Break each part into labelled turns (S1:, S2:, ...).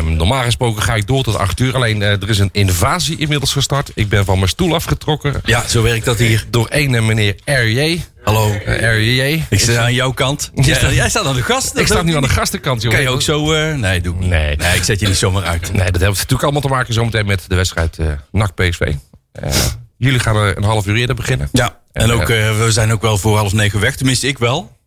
S1: Ehm, normaal gesproken ga ik door tot 8 uur. Alleen eh, er is een invasie inmiddels gestart. Ik ben van mijn stoel afgetrokken.
S2: Ja, zo werkt dat hier.
S1: Door één eh, meneer R.J.
S2: Hallo.
S1: Eh, R.J.
S2: Ik sta aan jouw kant. Jij, staat, jij staat aan de gast.
S1: Ik sta nu aan de gastenkant, joh.
S2: Kan je ook zo... eh, nee, doe ik niet.
S1: Nee.
S2: nee, ik zet je niet zomaar uit.
S1: Nee, dat heeft natuurlijk allemaal te maken zometeen met de wedstrijd eh NAC PSV. Eh, jullie gaan er een half uur eerder beginnen.
S2: Ja, en ook, eh, we zijn ook wel voor half negen weg. Tenminste, ik wel.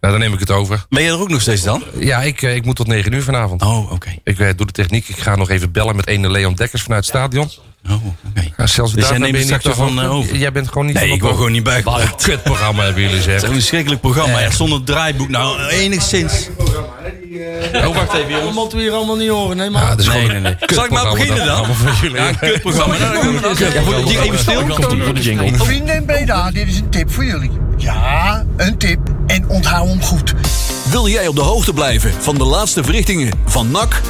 S1: Nou, dan neem ik het over.
S2: Ben jij er ook nog steeds dan?
S1: Ja, ik, eh, ik moet tot 9 uur vanavond.
S2: Oh, oké.
S1: Ik eh, doe de techniek. Ik ga nog even bellen met ene Leon Dekkers vanuit het stadion.
S2: Oh, oké.
S1: Ja, zelfs
S2: Dus
S1: daarna
S2: jij neemt
S1: ben je
S2: straks
S1: niet
S2: ervan,
S1: van-
S2: eh, over?
S1: Jij bent gewoon niet
S2: Nee,
S1: van
S2: ik wil
S1: op-
S2: gewoon niet bij.
S1: Wat een kutprogramma hebben jullie, zeg.
S2: Zo'n verschrikkelijk programma. Ja, zonder draaiboek. Nou, enigszins.
S1: Oh, wacht even, jongens.
S3: Dat moeten we hier allemaal niet horen, nee, maar.
S1: Ja, dat is
S2: Nee,
S1: gewoon een
S2: nee, nee. Zal ik maar
S1: kutprogramma
S2: beginnen dan?
S1: allemaal voor jullie.
S2: Ja, een kutprogramma. Nou, dan gaan we dan. Wordt hier even stil?
S4: voor de jingle.
S5: Vrienden en BDA, dit is een tip voor jullie. Ja, een tip. En onthoud hem goed.
S6: Wil jij op de hoogte blijven van de laatste verrichtingen van NAC?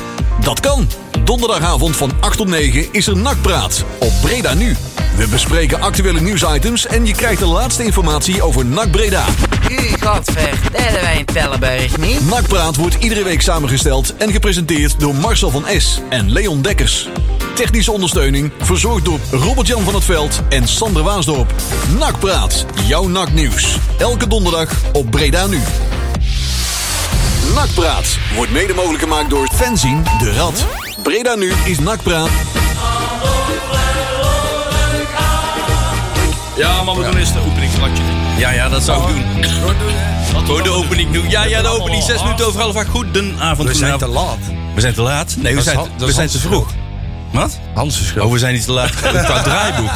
S6: Dat kan. Donderdagavond van 8 tot 9 is er NAC-praat op Breda Nu. We bespreken actuele nieuwsitems en je krijgt de laatste informatie over NAC Breda.
S7: U, godver, dat hebben wij in Tellenberg niet.
S6: NAC-praat wordt iedere week samengesteld en gepresenteerd door Marcel van Es en Leon Dekkers. Technische ondersteuning verzorgd door Robert-Jan van het Veld en Sander Waasdorp. NAC-praat, jouw NAC-nieuws. Elke donderdag op Breda Nu. NAC-praat wordt mede mogelijk gemaakt door Fanzine de Rad. Breda Nu is NAC-praat.
S2: Ja, maar we doen eerst de openingsklatje. Ja, ja, dat zou ik doen. Hoor de opening nu. Ja, ja, de opening. Zes minuten over half acht. Goedenavond. We zijn te laat. We zijn te laat? Nee, we zijn,
S3: Han- dat
S2: we
S3: is
S2: zijn te
S3: Hans'
S2: vroeg. Wat?
S3: Hans' schuld.
S2: Oh, we zijn niet te laat qua draaiboek.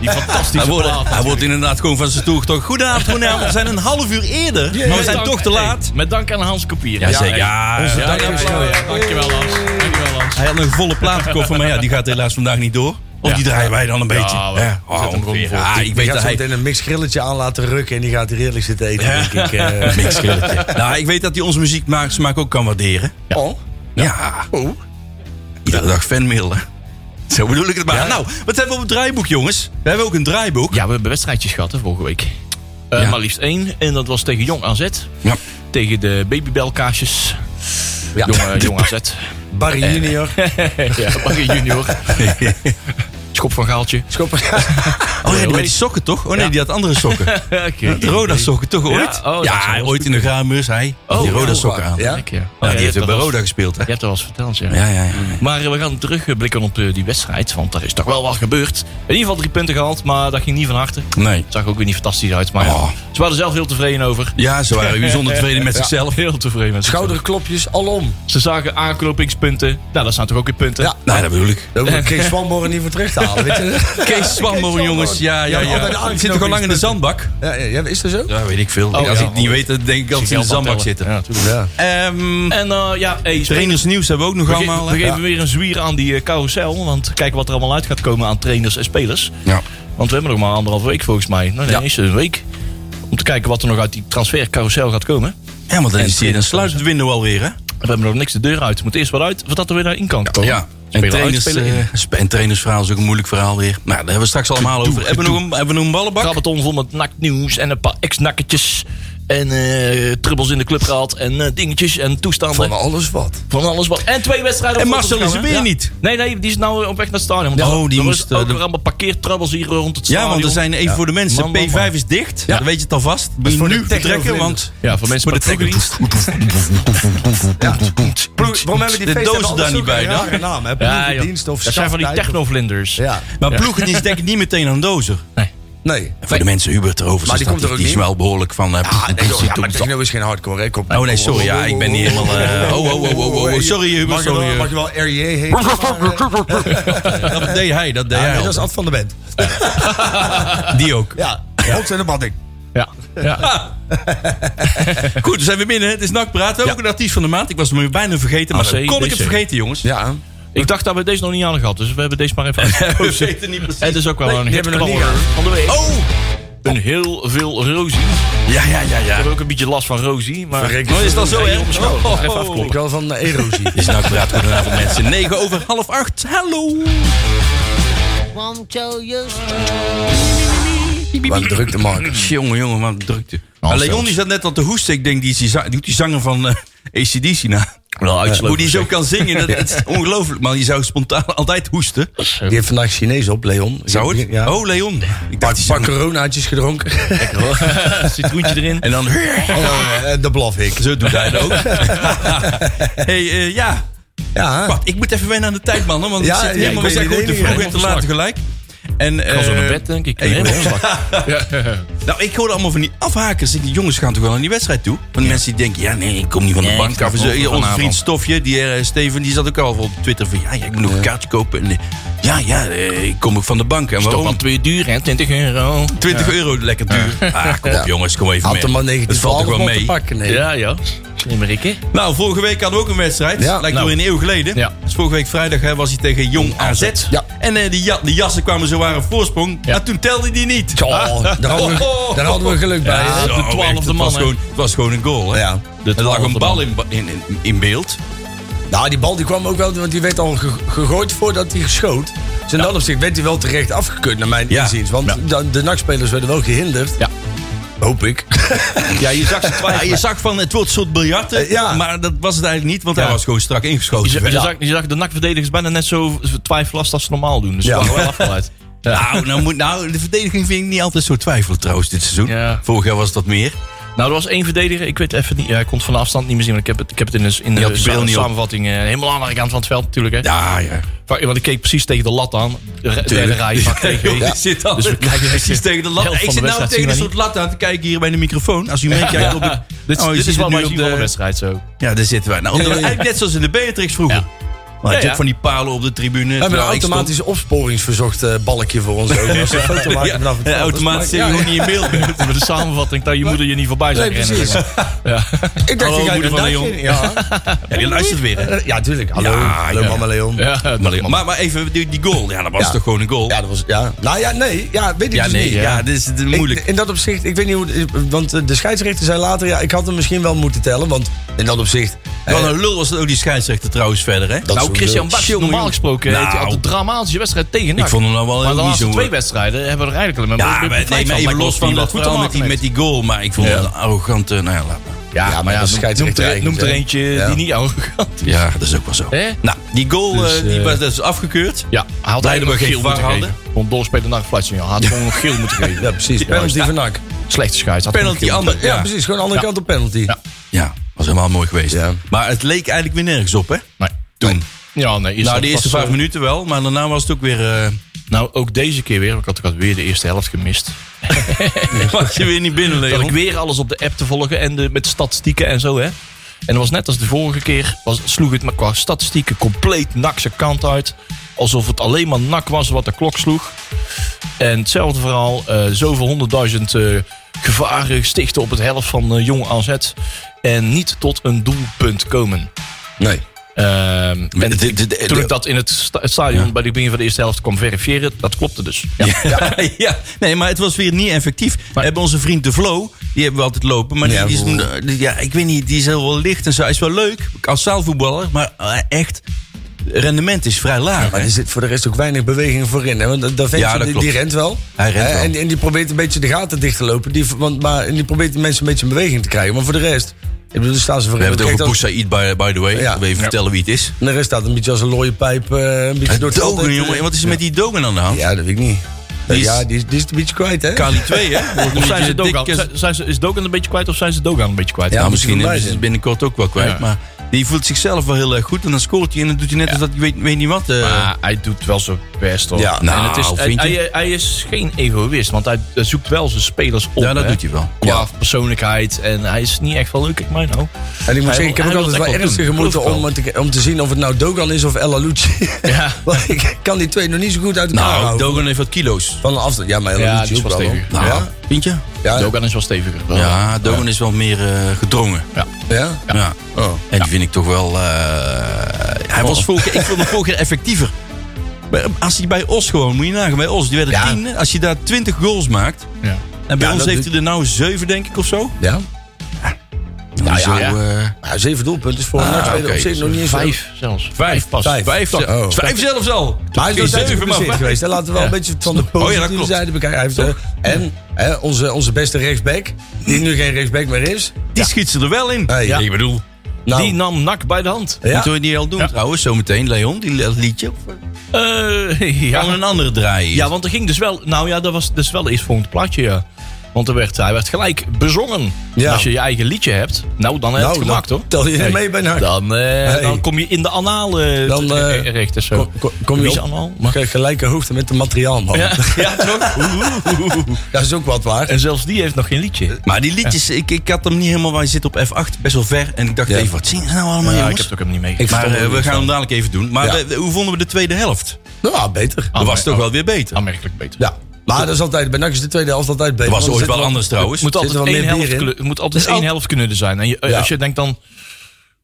S4: Die fantastische
S2: Hij wordt,
S4: plaat.
S2: hij wordt inderdaad gewoon van zijn stoel getogen. Goedenavond, goedenavond. We zijn een half uur eerder, maar we zijn
S4: Dank-
S2: toch te
S4: hey,
S2: laat.
S4: Met dank aan Hans Kopier.
S2: Ja, zeker.
S4: hey.
S2: Ja, ja,
S4: Ja,
S2: ja, ja.
S4: ja, ja, ja. Dankjewel, Hans. Dankjewel, Hans.
S2: Hij had een volle platenkoffer, maar ja, die gaat helaas vandaag niet door. Of
S4: Ja.
S2: die draaien wij dan een beetje.
S4: we
S2: Ja,
S4: zetten hem
S2: ongeveer.
S4: gewoon voor.
S2: Ah, ik weet
S3: gaat
S2: dat
S3: zo
S2: hij
S3: meteen een mix grilletje aan laten rukken en die gaat hier eerlijk zitten eten, denk ik. eh.
S2: Niks grilletje. Nou, ik weet dat hij onze muzieksmaak ook kan waarderen.
S3: Oh,
S2: Ja. Iedere dag fanmail, hè. Zo bedoel ik het maar. Nou, wat hebben we op het draaiboek, jongens? We hebben ook een draaiboek.
S4: Ja, we hebben wedstrijdjes gehad hè, vorige week. Eh,
S2: Ja.
S4: Maar liefst één. En dat was tegen Jong AZ.
S2: Ja.
S4: Tegen de babybelkaasjes. Jong, eh, Jong AZ.
S3: Barry Junior.
S4: Eh. ja, Barry Junior. Schop van Gaaltje.
S2: Oh ja, die met die sokken toch? Oh nee,
S4: Ja.
S2: die had andere sokken.
S4: Oké.
S2: De Roda sokken toch ooit?
S4: Ja, oh, dat zou wel
S2: ooit in de graanbeurs, hij. had die
S4: Oh,
S2: Roda
S4: ja.
S2: sokken aan. Ja,
S3: Ja?
S4: Kijk, ja. Oh, ja,
S2: die
S4: je
S2: heeft
S4: hebt
S2: ook bij
S4: dat wel
S2: Roda
S4: eens-
S2: gespeeld, hè.
S4: Je hebt dat wel eens verteld, ja.
S2: Ja, ja, ja.
S4: Maar eh, we gaan terugblikken op eh, die wedstrijd. Want er is toch wel wat gebeurd. In ieder geval drie punten gehaald, maar dat ging niet van harte.
S2: Nee.
S4: Zag ook weer niet fantastisch uit. Maar ja,
S2: Oh.
S4: ze waren er zelf heel tevreden over.
S2: Ja, ze waren bijzonder tevreden met zichzelf.
S4: Heel tevreden met zichzelf.
S3: Schouderklopjes alom.
S4: Ze zagen aanknopingspunten. Nou, dat zijn toch ook weer punten?
S3: Ja.
S2: Nou, dat bedoel ik.
S3: Daar hoef ik Kees Swanborn niet voor terug te halen, weet je.
S2: Kees Swambo, jongens. Ja, ja,
S3: Ja, altijd de
S2: ja. Ik zit toch al lang in de zandbak?
S3: Ja, ja, ja, is dat zo?
S2: Ja, weet ik veel.
S4: Oh,
S2: Als
S4: ja.
S2: ik het niet weet, dan denk ik dat ze in de zandbak zitten.
S4: Ja, natuurlijk.
S3: Ja.
S2: Ehm,
S4: en eh, ja, hey, spelers,
S2: trainersnieuws hebben we ook nog
S4: we, ge-
S2: allemaal.
S4: we
S2: hè?
S4: geven weer een zwier aan die eh, carousel. Want kijk wat er allemaal uit gaat komen aan trainers en spelers.
S2: Ja.
S4: Want we hebben nog maar anderhalf week volgens mij. Nou, nee, is het een week. Om te kijken wat er nog uit die transfercarousel gaat komen.
S2: Ja, want dan, is die,
S4: trainers-
S2: dan sluit het window alweer, hè?
S4: We hebben nog niks de deur uit. Moet eerst wat uit voordat er weer naar in kan komen.
S2: En,
S4: Oh. Spelen
S2: trainers,
S4: uit, spelen in.
S2: eh, sp- en trainersverhaal is ook een moeilijk verhaal weer. Nou, daar hebben we straks allemaal over. Hebben we, nog een, hebben we nog een ballenbak?
S4: Krabbelton vol met naknieuws en een paar ex-nakketjes. En eh trubbels in de club gehad. En eh, dingetjes en toestanden.
S3: Van alles wat.
S4: Van alles wat. En twee wedstrijden.
S2: En
S4: op
S2: Marcel
S4: voorbeschouw,
S2: is er
S4: hè?
S2: weer niet.
S4: Nee, nee, die is nou op weg naar het stadion. Want
S2: Oh,
S4: er-
S2: die
S4: er
S2: moest,
S4: is
S2: eh,
S4: ook
S2: de-
S4: weer allemaal parkeertrabbels hier rond het
S2: Ja,
S4: stadion.
S2: want er zijn even voor de mensen.
S4: Man, man,
S2: P5
S4: man.
S2: is dicht. Dan weet je het alvast.
S3: is
S2: Die
S3: voor de
S2: nu
S3: techno
S2: vertrekken,
S3: vlinders.
S2: want...
S4: Ja, voor mensen
S2: Voor de
S4: met
S2: techno-
S4: technisch.
S3: Waarom hebben die
S2: De
S3: feesten
S2: dozen daar niet bij,
S3: dan? naam, hè? Ja,
S4: joh.
S3: dienst of
S4: Dat zijn van die
S3: schaftijd of-
S4: technovlinders.
S3: Ja,
S2: Maar ploegen is denk ik niet meteen aan dozer.
S3: nee.
S2: En voor de mensen Hubert erover
S3: Maar die
S2: staat,
S3: komt er ook
S2: die is
S3: niet.
S2: wel behoorlijk van... eh,
S3: nee, joh, ja, maar techno nou, is geen hardcore, hè? Kom,
S2: Oh nee, sorry. Ja, ik ben niet helemaal... eh, oh, oh, oh, oh, oh, oh. Sorry, Hubert.
S3: Mag je
S2: Sorry.
S3: wel, mag
S2: Hubert.
S3: je wel R.J. heten?
S2: Dat deed hij, dat deed
S3: Ja,
S2: hij.
S3: dat is
S2: altijd.
S3: Ad van de Band.
S2: Die ook.
S3: Ja, ook zijn de banding.
S4: Ja. ja.
S2: Goed, we zijn weer binnen. Het is NAC Praat. We hebben ook een artiest van de maand. Ik was hem bijna vergeten, maar
S4: AC,
S2: dan kon ik het
S4: DC.
S2: vergeten, jongens.
S3: Ah, Ja.
S4: Ik dacht dat we deze nog niet aan hadden gehad. Dus we hebben deze maar even uit.
S2: We weten niet precies.
S4: Het is ook wel een
S3: die
S4: hit
S3: hebben we nog niet
S4: knaller van de week.
S2: Oh!
S4: Een heel veel rozie. Ik
S2: Ja, ja, ja, ja.
S4: heb ook een beetje last van rozie. Maar
S3: Verrek.
S2: Oh, is dat zo
S4: Even op mijn
S2: erg?
S4: schouder.
S2: Oh,
S4: Even
S2: oh,
S4: afkloppen.
S3: Ik wel van eh, erosie.
S2: Dit is NAC Praat. Goedenavond, mensen. 9 over half 8. Hallo!
S7: Want zo just
S3: Wat druk te maken.
S4: Hmm.
S2: Jongen, jongen, wat drukte.
S8: Nou,
S2: Maar Leon
S8: zelfs.
S2: die zat net al te hoesten. Ik denk, die, is die, za- die doet die zanger van eh ACDC na. Eh, Hoe die zo kan zingen, dat, dat is ongelooflijk. Maar die zou spontaan altijd hoesten.
S3: Die heeft vandaag Chinees op, Leon.
S2: Zou het?
S3: Ja.
S2: Oh, Leon. Ik
S3: Pak,
S2: dacht, die
S3: pak
S2: zanger.
S3: coronaatjes gedronken.
S4: Citroentje erin.
S2: En dan...
S3: Oh, eh, dat blaf ik.
S2: Zo doet hij dat ook. hey, eh, ja.
S3: Ja,
S2: Wacht, ik moet even wennen aan de tijd, man. Want
S3: Ja,
S2: ik zit
S3: ja,
S2: helemaal...
S3: ik
S2: we
S3: weet
S2: zijn
S3: het
S2: gewoon te
S3: enige.
S2: vroeg en te laat tegelijk. En,
S4: Ik was zo
S2: eh,
S4: naar bed, denk ik.
S2: hey,
S4: Nee,
S2: ja. Nou, ik hoorde allemaal van die afhakers. Ik denk, jongens gaan toch wel aan die wedstrijd toe? Van die mensen die denken, ja nee, ik kom niet van de
S4: Nee,
S2: bank
S4: ik sta
S2: af.
S4: vroeg
S2: Zo, Onze
S4: vanavond.
S2: vriend Stofje, die eh, Steven, die zat ook al op Twitter van... Ja, ja ik moet nog een kaartje kopen. En, eh, ja, ja, eh, ik kom ook van de bank. En
S4: Toch
S2: waarom?
S4: wel twee duur, hè? 20 euro.
S2: 20 euro lekker duur. Ah, kom op jongens, kom even
S3: had hem
S2: mee.
S3: maar
S2: Dat valt toch
S3: 1912
S2: wel
S3: om te
S2: mee.
S3: pakken. Nee.
S4: Ja, ja. Slimmer, Rikke.
S2: Nou, vorige week hadden we ook een wedstrijd.
S3: Ja.
S2: Lijkt
S4: Nou.
S2: wel een eeuw geleden.
S4: Ja.
S2: Dus vorige week vrijdag hè, was hij tegen Jong AZ.
S3: Ja.
S2: En eh, die, ja, die jassen kwamen zo waar op voorsprong.
S4: Ja.
S2: Maar toen telde die niet.
S3: Oh, daar, hadden we, daar hadden we geluk bij.
S4: Ja.
S3: hè?
S4: de
S2: Zo, oh, echt,
S4: twaalfde
S2: het
S4: man,
S2: Was
S4: hè?
S2: gewoon, het was gewoon een goal. Hè?
S3: Ja.
S2: Er lag een
S4: twaalfde
S2: bal
S4: man.
S2: in, ba- in, in, in beeld.
S3: Nou, die bal die kwam ook wel, want die werd al ge- gegooid voordat hij geschoot. Dus in dat opzicht werd hij wel terecht afgekeurd, naar mijn
S2: Ja.
S3: inziens. Want de, de nachtspelers werden wel gehinderd.
S4: Ja.
S3: Hoop ik.
S2: Ja, je zag, ze twijfelen. Ja, je zag van het wordt een soort biljarten.
S3: Eh, ja.
S2: Maar dat was het eigenlijk niet, want hij
S4: Ja.
S2: was gewoon strak
S4: Je,
S2: ingeschoten.
S4: zag- je
S2: Ja.
S4: zag, je zag de nakverdedigers bijna net zo twijfelast als ze normaal doen. Dus ze
S3: Ja.
S4: waren wel afgeleid.
S2: Nou, nou, moet, nou, de verdediging vind ik niet altijd zo twijfelen trouwens dit seizoen.
S4: Ja.
S2: Vorig jaar was dat meer.
S4: Nou, er was één verdediger. Ik weet even niet. Ja, ik kon het van de afstand niet meer zien. Want ik heb het, ik heb het in de, in de
S2: had die
S4: sa-
S2: bril niet op.
S4: samenvatting eh, helemaal aan de andere kant van het veld natuurlijk. Hè.
S2: Ja, ja.
S4: Want ik keek precies tegen de lat aan. De re- derde
S2: Tuurlijk. Oh,
S4: rij. vlak tegen.
S2: Joh, ik zit al
S4: Dus we krijgen
S2: precies
S4: echt-
S2: tegen de lat.
S4: helft
S2: Ik
S4: van
S2: zit
S4: de
S2: nou
S4: wedstrijd
S2: tegen een
S4: zien we
S2: soort lat aan te kijken hier bij de microfoon. Als u merkt, jij op de...
S4: Dit,
S2: Oh, je
S4: dit
S2: zit
S4: is wel
S2: nu
S4: mijn
S2: op
S4: zien van de
S2: de-
S4: wedstrijd zo.
S2: Ja, daar zitten wij. Nou, omdat- eigenlijk net zoals in de Beatrix vroeger.
S4: Ja.
S2: Maar
S4: Ja,
S2: had je
S4: ja.
S2: ook van die palen op de tribune.
S3: We hebben een
S2: terwijl ik stond-
S3: automatisch opsporingsverzocht eh, balkje voor ons. Ook. Als we een foto maken
S2: Ja,
S3: vanaf het
S2: ja, oh,
S3: veld, dat is
S2: automatisch zit
S3: maar-
S2: je
S3: Ja,
S2: gewoon niet in beeld meer.
S4: Met de samenvatting. Dat je moeder je niet voorbij zou
S3: Nee,
S4: rennen,
S3: precies.
S4: zeg maar.
S3: Ik dacht,
S2: Hallo,
S3: ik ga
S2: moeder
S3: een
S2: van
S3: dakje
S2: Leon.
S3: in. Ja,
S2: Ja, die luistert weer, hè?
S3: ja tuurlijk. Hallo,
S2: Ja,
S3: hallo
S2: ja.
S3: mama Leon.
S4: Ja, dat
S2: Maar,
S4: mag.
S2: maar, maar even die, die goal. Ja, dat was
S3: Ja.
S2: toch gewoon een goal?
S3: Ja, dat was... Ja. Nou ja, nee. Ja, weet ik
S2: Ja,
S3: dus
S2: nee.
S3: niet.
S2: Ja, dit is dit is moeilijk.
S3: Ik- in dat opzicht, ik weet niet hoe... het- Want eh, de scheidsrechter zei later... Ja, ik had hem misschien wel moeten tellen. Want in dat opzicht... eh,
S2: Wat een lul was dat ook die scheidsrechter trouwens verder, hè?
S3: dat is
S4: nou,
S3: wel
S4: Christian
S3: leuk.
S4: Baks,
S2: Jongen,
S4: normaal
S2: jongen.
S4: gesproken heeft hij
S2: Nou.
S4: altijd een dramatische wedstrijd tegen NAC.
S2: ik vond hem nou wel
S4: maar de
S2: heel niet
S4: laatste
S2: zo...
S4: twee wedstrijden hebben we er eigenlijk alleen maar
S2: Ja,
S4: een
S2: maar,
S4: beetje
S2: nee,
S4: profijt
S2: maar even
S4: van.
S2: los
S4: Lijkt wel
S2: van dat
S4: hij
S2: voetbal met die,
S4: verhaal
S2: met die goal. Maar ik vond het een arrogante... Nou ja, laat maar.
S4: Ja, maar ja,
S3: dat is
S4: noem- noemt
S3: scheidsrechter
S4: er,
S3: eigenlijk,
S4: noemt er
S3: hè?
S4: eentje
S3: Ja.
S4: die niet arrogant is.
S2: Ja, dat is ook wel zo.
S4: Hè?
S2: Nou, die goal
S4: Dus,
S2: eh, die
S4: eh,
S2: was dus afgekeurd.
S4: Ja, hij had
S2: Blijkbaar
S4: eigenlijk
S2: geen
S4: nog geel
S2: VAR
S4: moeten
S2: hadden.
S4: geven. Gewoon doorspelen naar de fluitsignaal. Hij had gewoon nog geel moeten geven.
S3: Ja, precies. Penalty van NAC.
S4: Slechte scheids. had
S2: Penalty
S4: gewoon geel
S2: ander.
S4: moeten
S3: Ja,
S2: Ja,
S3: precies. Gewoon andere kant op penalty. Ja.
S2: ja, was helemaal mooi geweest.
S3: Ja.
S2: Maar het leek eigenlijk weer nergens op, hè?
S4: geven.
S2: Toen.
S4: Nee. Ja, nee.
S2: Nou,
S4: dat
S2: de eerste
S4: was,
S2: vijf
S4: eh,
S2: minuten wel. Maar daarna was het ook weer... eh,
S4: Nou, ook deze keer weer. want Ik had, ik had weer de eerste helft gemist.
S2: was je weer niet binnen,
S4: Dat
S2: Leon.
S4: ik weer alles op de app te volgen en de, met statistieken en zo, hè. En dat was net als de vorige keer. Was, sloeg het maar qua statistieken compleet nakse kant uit. Alsof het alleen maar nak was wat de klok sloeg. En hetzelfde verhaal. eh, zoveel honderdduizend eh, gevaren stichten op het helft van eh, jong AZ. En niet tot een doelpunt komen.
S3: Nee.
S4: Ehm, en
S2: de- de- de-
S4: toen ik dat in het, sta- het stadion bij het begin van de eerste helft kwam verifiëren, dat klopte dus. Ja.
S2: Ja, ja, nee, maar het was weer niet effectief. We hebben onze vriend De Vlo, die hebben we altijd lopen. Maar die-
S3: Ja,
S2: die, is, die- ja, ik weet niet, die is heel wel licht en zo. Hij is wel leuk als zaalvoetballer, maar eh, echt, rendement is vrij laag.
S3: Maar
S2: hè?
S3: er zit voor de rest ook weinig beweging voorin. Hè? Want dat- dat ventje,
S2: Ja, dat
S3: die,
S2: klopt.
S3: die rent wel.
S2: Hij rent
S3: Hè,
S2: wel.
S3: Eh, En, en die probeert een beetje de gaten dicht te lopen. Die, want, maar, en die probeert de mensen een beetje in beweging te krijgen. Maar voor de rest... Ik bedoel, daar staan ze voor
S2: we hebben het over
S3: dan,
S2: Boussaïd, by, by the way.
S3: Ja.
S2: Ik wil even vertellen wie het is.
S3: En de rest staat een beetje als een looie pijp. eh, een beetje door het veld
S2: Dogen,
S3: heen te-
S2: jongen. Wat is er met die Dogen aan de hand?
S3: Ja, dat weet ik niet.
S2: Die is-
S3: ja, die is, die is het een beetje kwijt, hè?
S2: Kali 2, hè? Wordt een
S4: Of zijn
S2: beetje
S4: ze Dogan,
S2: dikke-
S4: zijn, zijn ze, is Dogan een beetje kwijt of zijn ze Dogan een beetje kwijt?
S3: Ja,
S2: Nou,
S3: moet je
S2: misschien
S3: voorbij
S2: is het
S3: zijn.
S2: binnenkort ook wel kwijt.
S4: Ja.
S2: Maar die voelt zichzelf wel heel erg goed. En dan scoort hij en dan doet hij net als dat hij weet, weet niet wat. eh.
S4: Maar Ah, hij doet wel zijn best hoor.
S2: Ja, nou,
S4: en het is, hij,
S2: vind je?
S4: hij, hij is geen egoïst, want hij zoekt wel zijn spelers op.
S2: ja, dat
S4: hè.
S2: doet hij wel.
S4: Qua persoonlijkheid. En hij is niet echt wel leuk, ik mij nou.
S3: En ik moet
S4: Hij
S3: zeggen,
S4: wil-
S3: ik heb
S4: hij
S3: ook
S4: wil
S3: altijd
S4: het
S3: wel
S4: echt wel
S3: ernstig
S4: doen.
S3: gemoeten
S4: Geloof
S3: om, eh, te- om te zien of het nou Dogan is of El Alucci.
S4: Ja.
S3: Want ik kan die twee nog niet zo goed uit elkaar
S2: Nou,
S3: houden.
S2: Dogan heeft wat kilo's.
S3: Van een afstand. Ja, maar El
S4: Ja,
S3: Alucci
S4: die is
S3: ook
S4: wel
S3: wel. hoor.
S4: stevig.
S2: Nou,
S3: Ja?
S2: vind je?
S3: Ja,
S4: Dogan is wel steviger.
S2: Ja, Dogan is wel meer eh, gedrongen.
S4: ja.
S3: ja. Oh.
S2: Ja. En die vind ik toch wel... eh, hij
S4: Oh.
S2: was vorige, ik vond hem vorige keer effectiever. Bij- Als hij bij Os gewoon, moet je nagaan, bij Os, die werden
S3: Ja.
S2: tien. Als je daar twintig goals maakt...
S4: Ja.
S2: En bij
S3: Ja,
S2: ons
S3: dat
S2: heeft
S3: doet-
S2: hij er nou zeven, denk ik, of zo.
S3: ja.
S2: Nou
S4: ja, ja.
S3: Ja, zeven doelpunten is voor een nachtspeler
S2: Ah, oké.
S3: op zich nog niet eens zo-
S4: Vijf zelfs. Vijf pas.
S3: Vijf.
S2: Vijf,
S3: Oh.
S2: ze- vijf zelfs al.
S3: Maar hij is
S2: Geen
S3: nog steeds
S2: zeven, maar
S3: geblesseerd
S2: vijf. Oh,
S3: geweest. hè. Laten we wel een beetje van de
S2: ja, dat
S3: positieve
S2: klopt.
S3: zijde bekijken. Hij heeft, eh, en Hè, onze, onze beste rechtsback, die nu geen rechtsback meer is.
S2: Die schiet ze er wel in.
S3: Hey,
S1: Ik bedoel,
S3: nou,
S4: Die nam NAC bij de hand.
S3: ja.
S2: Moeten we die al doen trouwens, zometeen, Leon, die dat liedje? Of
S4: Eh,
S2: gaan we
S4: ja.
S2: een andere draaien?
S4: ja, want er ging dus wel... Nou ja, dat was dus wel eens volgend plaatje, ja. Want er werd, hij werd gelijk bezongen.
S3: Ja.
S4: En Als je je eigen liedje hebt, nou dan heb je
S3: nou,
S4: het gemaakt,
S3: dan
S4: hoor.
S3: Tel je niet
S4: Nee.
S3: mee bij NAC.
S4: Dan, eh, dan kom je in de anale
S3: Dan, eh,
S4: recht of zo.
S3: Kom, kom- kom
S4: Wie
S3: je
S4: is
S3: op,
S4: anaal?
S3: mag je gelijke hoogte met de materiaalman.
S4: Ja, ja, toch? Oeh, oeh, oeh.
S3: Dat is ook wat waar.
S4: En zelfs die heeft nog geen
S3: Eh,
S4: liedje.
S2: Maar die liedjes, ik, ik had hem niet helemaal, wij zitten op F8, best wel ver. En ik dacht
S3: Ja.
S2: even, wat zien ze nou allemaal,
S4: Ja, ik
S2: jongens?
S4: heb het ook hem niet
S3: Ik
S4: meegekregen.
S2: maar
S3: verstond
S2: eh,
S3: er
S2: we
S3: niks
S2: gaan
S3: van.
S2: hem dadelijk even doen. Maar
S3: Ja.
S2: we- hoe vonden we de tweede helft?
S3: Nou, ja, beter.
S2: Dat was toch wel weer beter.
S4: Aanmerkelijk beter.
S3: Ja. Maar dat is altijd, bij NAC is de tweede helft altijd beter.
S2: Dat was
S3: want
S2: ooit
S3: er
S2: wel
S3: zit
S2: anders trouwens.
S4: Het moet altijd
S3: Zit er wel
S4: één
S3: meer
S4: helft,
S3: bier in?
S4: kunnen- het moet altijd
S3: Is
S4: één
S3: al-
S4: helft kunnen zijn. En je, eh,
S3: Ja.
S4: als je denkt dan...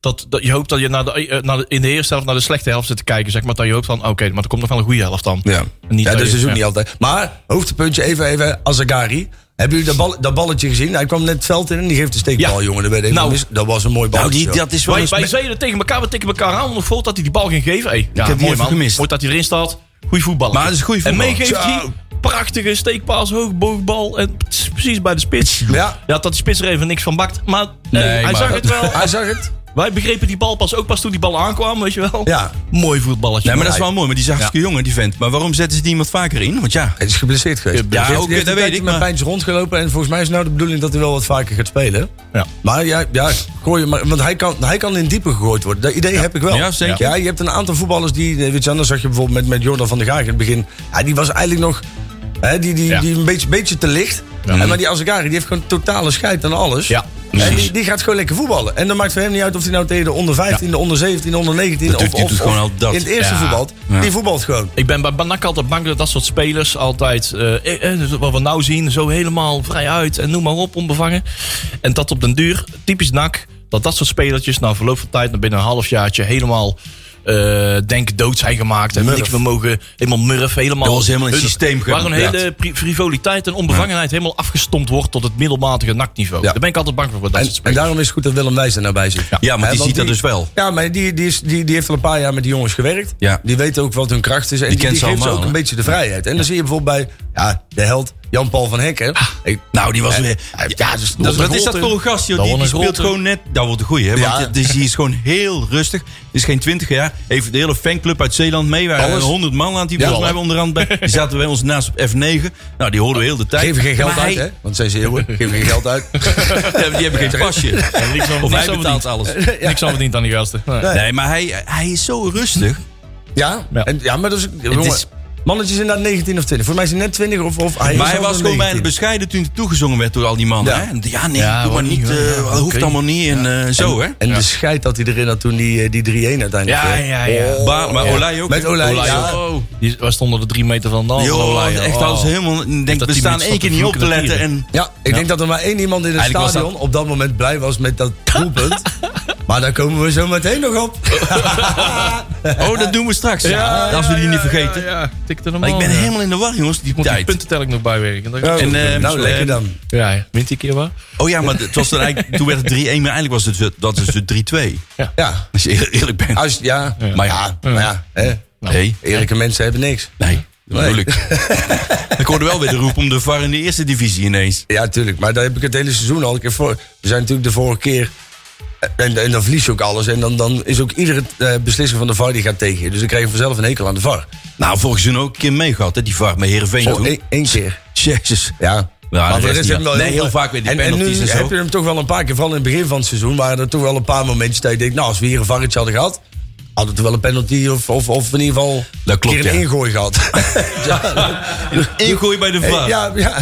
S4: Dat, dat je hoopt dat je naar de, eh, naar de- in de eerste helft naar de slechte helft zit te kijken. Zeg maar dat je hoopt van, oké, maar er komt nog wel een goede helft dan.
S3: Ja,
S4: En niet
S3: ja
S4: dat
S3: dat
S4: je-
S3: is ook
S4: ja.
S3: niet altijd. Maar, hoogtepuntje, even, even, Azagari. Hebben jullie dat, bal, dat balletje gezien? Hij kwam net het veld in en die geeft een steekbal,
S4: Ja.
S3: jongen. Dat, werd even
S4: Nou.
S3: mis. dat was een mooi
S2: Nou,
S3: balletje.
S2: die,
S3: hoor.
S2: dat is wel
S4: Wij,
S2: eens...
S4: wij zeiden tegen elkaar, we tikken elkaar aan. Nog vol dat hij die bal ging geven. Hey,
S2: heb
S4: ja,
S2: die
S4: mooi
S2: even
S4: man.
S2: gemist.
S4: Mooi dat hij erin staat. Goeie voetballer.
S2: Maar het is een goeie voetballer.
S4: En meegeeft hij
S3: Ciao.
S4: prachtige steekpaas, hoogboogbal. En het is precies bij de spits.
S3: Ja.
S4: dat die spits er even niks van bakt. Maar hey,
S2: Nee,
S4: hij
S2: maar-
S4: zag het wel.
S3: Hij zag het.
S4: Wij begrepen die bal pas ook pas toen die bal aankwam, weet je wel.
S3: Ja.
S4: Mooi voetballetje.
S2: Nee, maar dat is wel mooi, maar die is hartstikke jong, hè, die vent. Maar waarom zetten ze die iemand vaker in? Want ja,
S3: Hij is geblesseerd geweest.
S2: Ja,
S3: Hij heeft-
S2: ook,
S3: hij heeft
S2: dat
S3: een
S2: weet
S3: tijdje
S2: ik,
S3: met
S2: maar-
S3: pijntjes rondgelopen en volgens mij is nou de bedoeling dat hij wel wat vaker gaat spelen.
S4: Ja.
S3: Maar ja, ja gooi hem maar, want hij kan, hij kan in diepe gegooid worden. Dat idee heb ik wel.
S2: Ja, zeker.
S3: Ja, je hebt een aantal voetballers die, eh, weet je, anders zag je bijvoorbeeld met, met Jordan van der Gaag in het begin. Ja, die was eigenlijk nog, hè, die, die, die een beetje, beetje te licht. En, maar die Azagari, die heeft gewoon totale scheid aan alles.
S4: Ja,
S3: En
S2: precies.
S3: die, die gaat gewoon lekker voetballen. En dan maakt voor hem niet uit of hij nou tegen de onder 15, de onder 17, de onder 19
S2: Dat
S3: of,
S2: doet- die
S3: of-
S2: doet
S3: of
S2: gewoon al dat.
S3: in het eerste
S4: Ja.
S3: voetbalt.
S2: Ja.
S3: Die voetbalt gewoon.
S4: Ik ben bij Banak altijd bang dat dat soort spelers altijd, eh, eh, wat we nou zien, zo helemaal vrij uit en noem maar op, onbevangen. En dat op den duur, typisch NAC, dat dat soort spelertjes na verloop van tijd, na binnen een halfjaartje, helemaal eh denk dood zijn gemaakt. En niks meer mogen, helemaal murf, helemaal...
S2: Dat was helemaal in het
S4: hun-
S2: systeem
S4: Waar een
S2: gepraat.
S4: hele pri- frivoliteit en onbevangenheid helemaal afgestompt wordt tot het middelmatige NAC-niveau.
S3: Ja.
S4: Daar ben ik altijd bang voor, voor dat
S3: En,
S4: soort
S3: en
S4: spelers.
S3: daarom is het goed dat Willem Wijs er nou bij zit.
S2: ja maar
S3: Hè,
S2: die
S3: want
S2: ziet dat dus wel.
S3: Ja, maar die, die, is, die, die heeft al een paar jaar met die jongens gewerkt.
S2: Ja.
S3: Die weten ook wat hun kracht is. En die,
S2: kent
S3: die
S2: ze
S3: geeft ze
S2: allemaal,
S3: ook
S2: hè?
S3: een beetje de vrijheid. En dan zie je bijvoorbeeld bij ja, de held Jan-Paul van Hekken. Ik-
S2: Nou, die was
S3: Hè?
S2: weer...
S3: Ja,
S2: Ja,
S3: dus-
S2: dat,
S4: wordt
S2: wat
S4: een
S2: is dat
S4: grote.
S2: voor een gast, joh?
S4: Dat
S2: Die, die
S4: wordt een
S2: speelt
S4: grote.
S2: gewoon net... Dat wordt een goeie, hè?
S3: Ja.
S2: Want het is, die is gewoon heel rustig. Het is geen twintig jaar. Heeft de hele fanclub uit Zeeland mee. Waar
S3: Alles.
S2: 100 man aan die volgens mij onderhand bij. Die zaten bij ons naast op F9. Nou, die hoorden we heel de tijd.
S3: Geef er geen geld
S2: Maar
S3: uit,
S2: hij-
S3: hè? Want zij zeeuwen. Geef er geen geld uit.
S2: Ja, Die hebben geen pasje.
S4: En niks aan-
S2: Of
S4: niks
S2: hij
S4: aan
S2: betaalt
S4: verdiend.
S2: alles.
S4: Niks aan verdiend aan die gasten. Nee.
S2: Nee, maar hij, hij is zo rustig.
S3: Ja,
S4: Ja.
S3: En, ja maar dat is... jongen,
S2: is-
S3: Mannetjes inderdaad 19 of 20. Voor mij is hij net 20 of... of hij is
S2: Maar hij
S3: zelfs
S2: was
S3: nog
S2: gewoon bijna
S3: 19.
S2: bescheiden toen hij toegezongen werd door al die mannen.
S3: Ja.
S2: hè? En Ja, nee,
S4: Ja,
S2: doe maar
S4: wat
S2: niet.
S4: niet,
S2: eh,
S4: ja, ja,
S2: dat hoeft
S4: oké.
S2: allemaal niet. En eh, zo, hè?
S3: En de scheid dat hij erin had toen die, eh, die 3-1 uiteindelijk
S4: Ja,
S3: werd.
S4: ja, ja.
S2: Oh. Ba- maar Olij ook.
S3: Met
S2: hè?
S3: Olij,
S2: Olij
S3: ja.
S2: ook.
S4: Die was stonden er drie meter van. Oh,
S2: Yo,
S4: Olij,
S2: echt,
S4: oh.
S2: dat is helemaal... ik Denk,
S4: dat
S2: we
S4: die
S2: staan
S4: mensen
S2: één keer
S4: tot
S2: niet op te
S4: vloeken en
S2: letten. En,
S3: Ja, ik denk dat er maar één iemand in het
S2: Eigenlijk was dat-
S3: stadion op dat moment blij was met dat doelpunt. maar daar komen we zo meteen nog op.
S2: oh, dat doen we straks. als we die niet vergeten.
S4: Ja, ja. tikte hem
S2: Maar ik ben
S4: al, ja.
S2: helemaal in de war, jongens, die
S4: Moet die
S2: tijd.
S4: puntentelling nog bijwerken. Dan-
S2: En, eh,
S3: nou,
S2: eh,
S3: lekker dan.
S4: ja, ja. wint die keer wel.
S2: Oh ja, maar het was dan eigenlijk, toen werd het 3-1, maar eigenlijk was het dat is het 3-2.
S3: Ja,
S2: Als je eer- eerlijk
S4: Nou.
S2: bent.
S3: als, ja, maar ja, maar ja hè.
S2: Nee,
S3: eerlijke mensen hebben niks.
S2: nee, dat bedoel ik. Ik hoorde wel weer de roep om de VAR in de eerste divisie ineens.
S3: Ja, tuurlijk, maar daar heb ik het hele seizoen al een keer voor. We zijn natuurlijk de vorige keer, en, en dan verlies je ook alles. En dan, dan is ook iedere eh, beslissing van de VAR die gaat tegen je. Dus dan krijg je vanzelf een hekel aan de VAR.
S2: Nou, volgens hun ook een keer mee gehad, hè, die VAR met Heerenveen
S3: Zo,
S2: toen.
S3: één één keer.
S2: Jezus.
S3: Ja.
S2: Ja, dat
S3: voor de
S2: is
S3: rest
S2: niet-
S3: hebben we wel
S2: nee, heel vaak weer die
S3: en, en
S2: penalties
S3: nu
S2: en zo.
S3: heb je hem toch wel een paar keer, vooral in het begin van het seizoen, waren er toch wel een paar momentjes dat je denkt, nou, als we hier een varretje hadden gehad, hadden we wel een penalty of, of, of in ieder geval
S2: Dat klopt,
S3: een keer een
S2: ja.
S3: ingooi gehad.
S2: Ingooi bij de VAR.
S3: ja, ja.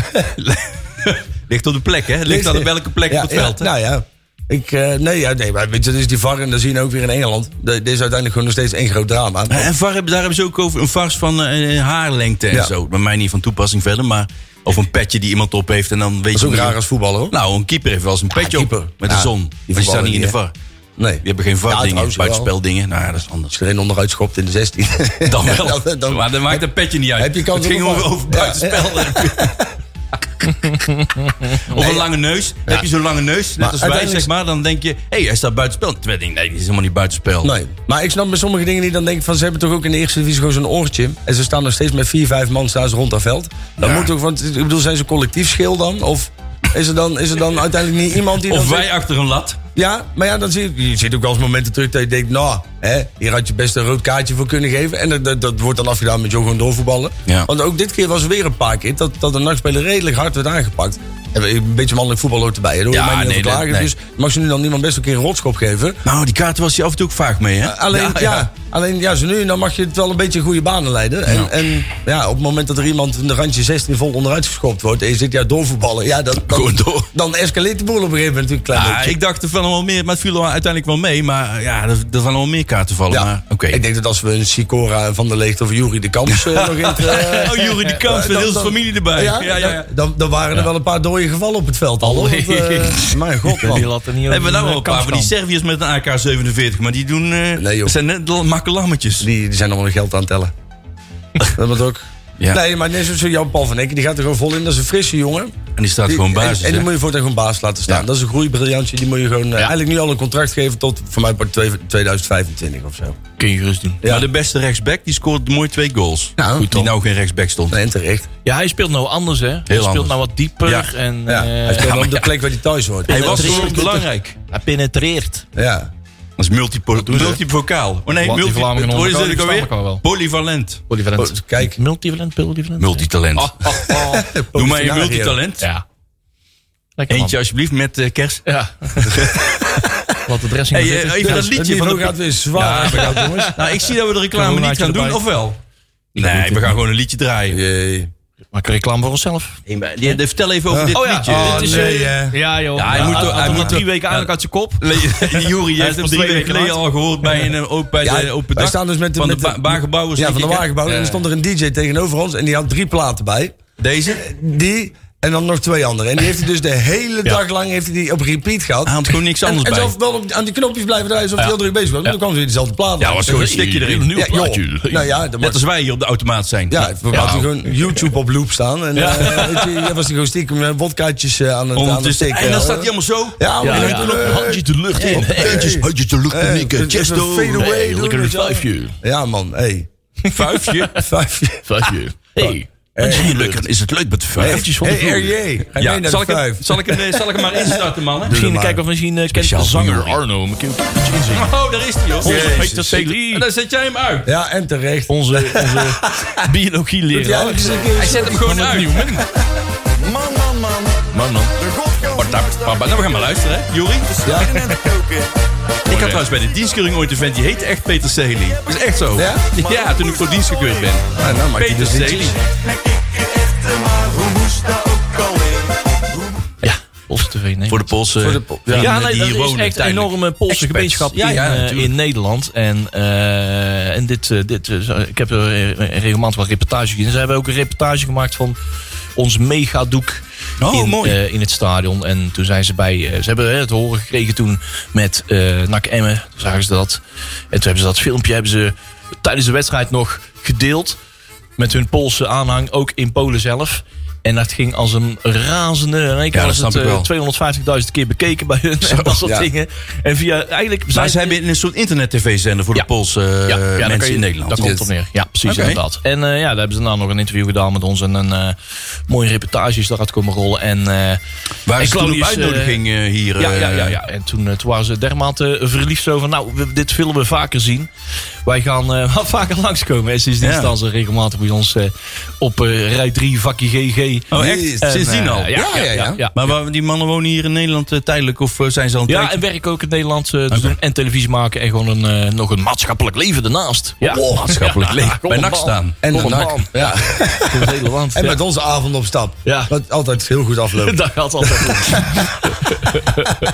S2: Ligt op de plek, hè? Ligt aan welke plek
S3: Ja,
S2: op het veld.
S3: Ja,
S2: hè?
S3: nou ja. Ik, eh, nee, ja, nee, maar weet je, dat is die VAR en dat zien we ook weer in Engeland. De- Dit is uiteindelijk gewoon nog steeds één groot drama.
S2: Ja, En VAR, hebben- daar hebben ze ook over een vars van eh, haarlengte en
S3: Ja.
S2: zo. Bij mij niet van toepassing verder, maar... Of een petje die iemand op heeft en dan weet
S3: dat is
S2: je...
S3: ook
S2: niet-
S3: raar als voetballer, hoor. Ah,
S2: Nou, een keeper heeft wel eens een petje
S3: keeper.
S2: op met
S3: Ja,
S2: de zon.
S3: die
S2: Die, die staan
S3: voetballen
S2: niet in de
S3: niet, hè?
S2: VAR.
S3: nee.
S2: Die hebben geen
S3: Ja,
S2: VAR-dingen,
S3: trouwens wel.
S2: buitspeldingen. Nou ja, dat is anders.
S3: Als je er een onderuit schopt in de 16.
S2: Dan wel.
S3: dan- dan-
S2: maar dan maakt een petje niet uit.
S3: heb je kans
S2: het ging
S3: op een
S2: over,
S3: VAR.
S2: over buitenspel. Of een lange neus. Heb je zo'n lange neus, net als wij,
S3: uiteindelijk-
S2: zeg maar. Dan denk je, hé, hey, hij staat buitenspel. Terwijl ik denk, nee, die is helemaal niet buitenspel.
S3: Nee, maar ik snap bij sommige dingen niet. Dan denk ik van, ze hebben toch ook in de eerste divisie gewoon zo'n oortje. En ze staan nog steeds met vier, vijf man staan ze rond dat veld. Dan moet toch, want ik bedoel, zijn ze collectief schil dan? Of is er dan, is er dan uiteindelijk niet iemand die... dan
S2: Of
S3: zegt-
S2: wij achter een lat.
S3: Ja, maar ja, dan zie je, je ziet ook wel eens momenten terug dat je denkt... Nou, hè, hier had je best een rood kaartje voor kunnen geven. En dat, dat, dat wordt dan afgedaan met jou gewoon doorvoetballen.
S2: Ja.
S3: Want ook dit keer was er weer een paar keer dat, dat een nachtspeler redelijk hard werd aangepakt. En een beetje mannelijk voetbal hoort erbij. hè, Daar hoor je
S2: Ja,
S3: mij niet
S2: nee,
S3: over
S2: dat-
S3: klagen.
S2: nee.
S3: Dus mag ze nu dan niemand best een keer een rotschop geven.
S2: Nou, die kaarten was hij af en toe ook vaak mee, hè?
S3: Alleen, ja, alleen ja, zo nu en dan mag je het wel een beetje goede banen leiden. En,
S2: Ja.
S3: en ja, op het moment dat er iemand in de randje 16 vol onderuit geschopt wordt... en je zit ja doorvoetballen, ja, dan, dan,
S2: Gewoon door.
S3: dan escaleert de boel op een gegeven moment natuurlijk een klein
S2: Ah,
S3: beetje.
S2: ik dacht er van wel meer, maar het viel er uiteindelijk wel mee. Maar eh, ja, er, er van wel meer kaarten vallen.
S3: Ja.
S2: Maar, oké.
S3: Ik denk dat als we een Sicora van der Leegte of Jury de Kamps eh, nog in het... eh,
S2: Oh, Jury de Kamp met
S3: dan-
S2: heel zijn
S3: dan-
S2: familie erbij. Ja, ja, ja.
S3: Dan, dan waren er wel een paar dode gevallen op het veld al. hoor, Want, eh, mijn god,
S4: Die
S3: man.
S4: laat er niet over
S2: Hebben we nou
S4: een
S2: wel een paar van die
S4: kampskant.
S2: Serviërs met een AK-47, maar die doen... eh
S3: Nee, joh.
S2: dat zijn net l- makkelammetjes.
S3: Die, die zijn allemaal hun geld aan het tellen. dat moet ook.
S2: Ja.
S3: Nee, maar net zoals Jan Paul van Ecke, die gaat er gewoon vol in. Dat is een frisse jongen.
S2: En die staat gewoon
S3: Die-
S2: basis.
S3: En, en die
S2: hè?
S3: moet je voortaan gewoon baas laten staan.
S2: Ja.
S3: Dat is een groeibriljantje. Die moet je gewoon eh, eigenlijk nu al een contract geven tot voor mij part twee- 2025 of zo.
S2: Kun je gerust doen.
S3: Ja.
S2: Maar de beste rechtsback, die scoort mooi twee goals.
S3: Nou,
S2: Goed,
S3: goed
S2: die
S3: dan.
S2: nou geen rechtsback stond.
S3: Nee, en terecht.
S4: Ja, hij speelt nou anders, hè? hij speelt
S2: anders.
S4: nou wat dieper
S2: Ja.
S4: en
S3: Ja.
S4: eh,
S3: Hij speelt op de plek waar hij thuis hoort.
S2: Hij was
S4: drie-
S2: gewoon belangrijk.
S4: hij penetreert.
S3: Ja.
S2: Dat is multipo- multivocaal. Oh nee,
S4: Want die
S2: multi,
S4: Vlamingen
S2: hoor je
S4: onder elkaar,
S2: dat ook
S4: die
S2: alweer?
S4: snappen elkaar wel.
S2: Polyvalent.
S4: Polyvalent.
S3: Oh, kijk.
S4: Multivalent, polyvalent.
S2: Multitalent.
S4: Oh, oh,
S2: Doe
S4: oh.
S2: mij een
S3: Polyvalent.
S2: multitalent.
S4: Ja. Lekker, man.
S2: Eentje alsjeblieft met eh, kerst.
S4: Ja. Laat de dressing
S2: Hey,
S4: maar
S2: eh,
S4: zitten.
S2: even dat liedje
S3: Die
S2: van
S3: vrouw
S2: de...
S3: gaat weer zwaar. Ja, jongens.
S2: Nou, ik zie dat we de reclame
S4: Coronaatje
S2: niet gaan doen,
S4: erbij.
S2: of wel? Nee, we gaan gewoon een liedje draaien.
S4: Maak een reclame voor onszelf.
S2: Nee, maar- die- die- Vertel even over dit
S4: Oh ja.
S2: liedje.
S4: Oh,
S2: Dit is,
S4: nee,
S2: eh,
S4: Ja, joh. Ah,
S2: Ja, hij
S4: Ja,
S2: moet
S4: had-
S2: toch-
S4: had
S2: hij
S4: hem
S2: moet
S4: al drie
S2: toch-
S4: weken eigenlijk uit zijn kop.
S2: Le- Jury heeft hem
S4: is pas
S2: drie
S4: twee
S2: weken
S4: weken
S2: geleden al gehoord bij een, eh, ook bij
S3: Ja,
S2: de, op het
S3: wij
S2: dak
S3: staan dus met,
S2: van
S3: met
S2: de ba- wagenbouwers.
S3: Ja,
S2: denk
S3: van
S2: ik,
S3: de
S2: hè?
S3: wagenbouwer. En er stond er een DJ tegenover ons en die had drie platen bij.
S2: Deze?
S3: Die en dan nog twee andere. En die heeft hij dus de hele dag lang heeft hij die op repeat gehad.
S2: Hij had gewoon niks
S3: en,
S2: anders
S3: en
S2: bij.
S3: zelf wel op, aan die knopjes blijven draaien alsof hij heel druk bezig was. Maar dan kwam ze weer dezelfde plaat.
S2: Ja, was gewoon een stukje erin.
S3: Ja, joh. Nou ja, dat
S2: Net als wij hier op de automaat zijn.
S3: Ja, we hadden gewoon YouTube op loop staan. En eh weet je, ja, was hij gewoon stiekem eh, wodkaatjes eh, aan het aan het
S2: Ondertussen.
S3: steken.
S2: En dan staat hij allemaal zo.
S3: Ja,
S4: Ja,
S3: maar
S4: ja.
S3: dan doen we-
S4: Handje de lucht in.
S6: Eentjes, handjes te luchten,
S3: Hey,
S6: Nieke.
S3: het is
S6: Chesto.
S3: een Eh, fade away,
S6: Hey,
S3: doen
S6: Lekker
S3: we
S6: een
S3: het wel.
S6: vijfje.
S3: Ja, man. Hey.
S2: Vuifje.
S3: Vijfje.
S6: Vijfje.
S4: Hey.
S2: Handje in de lucht. Is het leuk met de vuifjes?
S4: Eventjes van de
S3: Hey,
S4: vloer.
S3: RJ. Ga mee naar
S2: zal,
S3: de
S2: ik hem,
S3: vijf.
S2: zal, ik hem, eh, zal ik hem maar instarten, man? hè?
S4: Misschien
S3: maar.
S4: kijken of misschien eh, kent de
S6: Speciaal voor
S4: zanger
S6: jou, Arno. Maar kun je ook iets inzingen?
S2: Oh, daar is hij, joh.
S4: Jezus.
S2: Dat zet- En dan zet jij hem uit.
S3: Ja, en terecht.
S4: Onze, onze
S3: Ja,
S4: biologieleraar.
S3: dat is een keer-
S2: Hij zet hem gewoon uit. Man, man, man. Man, man. Maar daar- maar- maar- Nou, we gaan maar luisteren, hè. Jori?
S3: Ja.
S2: Ik had trouwens bij de dienstkeuring ooit een vent, die heette echt Peter Sely. Dat is echt zo.
S3: Ja?
S2: Ja, toen ik voor dienst gekeurd ben.
S3: Ah, nou, maakt hij
S2: Peter
S3: dus
S2: Sely.
S3: liedjes.
S4: Ja, Poolse TV, nee.
S2: Voor de Poolse
S3: Voor de Pool- ja.
S2: vrienden
S4: Ja, nee,
S2: die
S4: dat
S2: hier
S4: is
S2: wonen.
S4: echt een
S2: tijdelijk.
S4: enorme Poolse
S2: Expats.
S4: gemeenschap
S2: Ja,
S4: in,
S2: ja,
S4: eh,
S2: natuurlijk.
S4: in Nederland. En, eh, en dit, eh, dit, eh, ik heb er eh, regelmatig wat reportages gezien. Ze hebben ook een reportage gemaakt van ons megadoek
S2: Oh,
S4: in,
S2: mooi.
S4: eh, in het stadion. En toen zijn ze bij... eh, ze hebben eh, het horen gekregen toen met eh NAC Emmen. Toen zagen ze dat. En toen hebben ze dat filmpje hebben ze tijdens de wedstrijd nog gedeeld. Met hun Poolse aanhang, ook in Polen zelf. En dat ging als een razende... In één keer
S2: dat
S4: was
S2: snap
S4: het
S2: ik wel.
S4: eh, 250.000 keer bekeken bij hun. en dat soort
S3: ja.
S4: dingen. En via eigenlijk.
S2: Maar
S4: zijn-
S2: ze hebben een soort internet-tv-zender voor
S4: Ja.
S2: de Poolse eh,
S4: ja, ja, daar kan
S2: mensen
S4: je-
S2: in Nederland.
S4: Daar komt het op neer. Ja, precies
S2: Oké.
S4: inderdaad. En eh, ja, daar hebben ze daarna nog een interview gedaan met ons. En een eh, mooie reportage is daaruit komen rollen. En, eh,
S2: Waar
S4: en
S2: is toen op
S4: Claudius, eh,
S2: uitnodiging eh, hier?
S4: ja, ja,
S2: eh,
S4: ja, ja. En toen, eh, toen waren ze dermate verliefd zo van... Nou, we- dit willen we vaker zien. Wij gaan eh, wel vaker langskomen. En sindsdien
S2: Ja.
S4: staan ze regelmatig bij ons eh, op eh, rij 3, vakje GG.
S2: Oh, echt?
S4: En,
S2: Sindsdien
S4: eh,
S2: al?
S4: Ja, ja, ja. ja,
S2: Maar waar- die mannen wonen hier in Nederland eh, tijdelijk of eh, zijn ze al een
S4: Ja,
S2: tijdje-
S4: en werk ook in Nederland eh, te doen. En televisie maken. En gewoon een, eh, nog een maatschappelijk leven daarnaast. Ja.
S2: maatschappelijk leven.
S4: kom
S2: Bij
S4: op,
S2: NAC
S4: man.
S2: staan.
S3: En
S4: Kom
S3: de
S4: op,
S3: nak.
S4: man.
S3: Ja.
S4: Voor het hele land.
S3: En
S4: ja.
S3: met onze avond op stap.
S4: Ja.
S3: Wat altijd heel goed afloopt.
S4: Dat gaat altijd goed.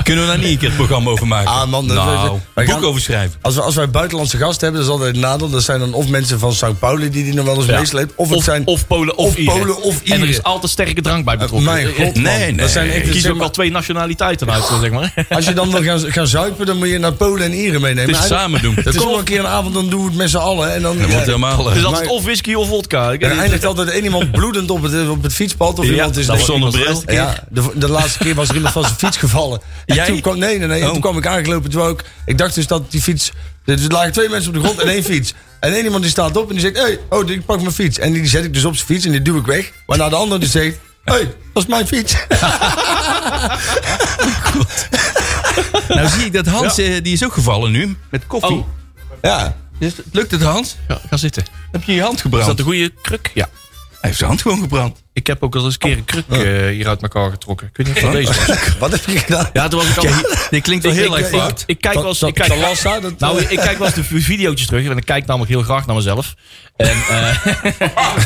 S2: Kunnen we daar niet een keer het programma over maken?
S3: Ah, man, dat-
S2: nou,
S3: wij gaan-
S2: boek over schrijven.
S3: Als, we, als wij buitenlandse gasten hebben, dat is altijd een nadeel. Dat zijn dan of mensen van St. Pauli die die nog wel eens meesleept. Of, het
S4: Of,
S3: zijn
S4: of Polen of,
S3: of
S4: Ieren.
S3: Polen of
S4: En er is
S3: Ieren.
S4: altijd sterke drank bij betrokken. Eh,
S3: Mijn god, man.
S2: Nee, nee.
S3: Dat zijn echt,
S4: Ik kies
S3: zeg
S4: ook
S3: maar,
S4: al twee nationaliteiten uit, zeg maar.
S3: Als je dan wil gaan, gaan zuipen, dan moet je naar Polen en Ieren meenemen.
S2: Het is
S3: Maar
S2: samen doen.
S3: Dat komt wel een keer een avond, dan doen we het met z'n allen. En dan,
S2: Dat
S3: ja,
S2: wordt helemaal... eh,
S4: Dus altijd of whisky of vodka. Ik weet
S3: er
S4: niet.
S3: eindigt altijd één iemand bloedend op het, op het fietspad. Of
S2: Ja,
S3: iemand is
S2: dat
S3: dood.
S2: zonder bril.
S3: Ja, de, de laatste keer was er iemand van zijn fiets gevallen. En
S2: Jij?
S3: Toen kwam, nee, nee, nee. En
S2: Oh.
S3: Toen kwam ik aangelopen. Toen ook, ik dacht dus dat die fiets... Er lagen twee mensen op de grond en één fiets. En één iemand die staat op en die zegt... Hey, oh, ik pak mijn fiets. En die zet ik dus op zijn fiets en die duw ik weg. Waarna de ander dus zegt... hey, dat is mijn fiets.
S2: Nou zie ik dat Hans, eh, die is ook gevallen nu, met koffie.
S4: Oh.
S3: Ja.
S2: Dus, lukt het Hans?
S4: Ja, ga zitten.
S2: Heb je je hand
S4: Is
S2: gebrand?
S4: dat een goede kruk? Ja.
S2: Hij heeft zijn hand gewoon gebrand.
S4: Ik heb ook al eens een keer een kruk
S3: Oh.
S4: eh, hier uit elkaar getrokken. Ik weet niet of dat deze was.
S3: Wat heb je gedaan?
S4: Ja, toen was ik al...
S2: Dit klinkt wel
S4: Ik-
S2: heel
S4: ik-
S2: erg
S4: ik-
S2: fout.
S4: Ik kijk wel eens...
S3: Dat-
S4: ik kijk-
S3: dat last, hè? Dat-
S4: Nou, ik kijk wel eens de v- video's terug. En ik kijk namelijk heel graag naar mezelf. En, eh,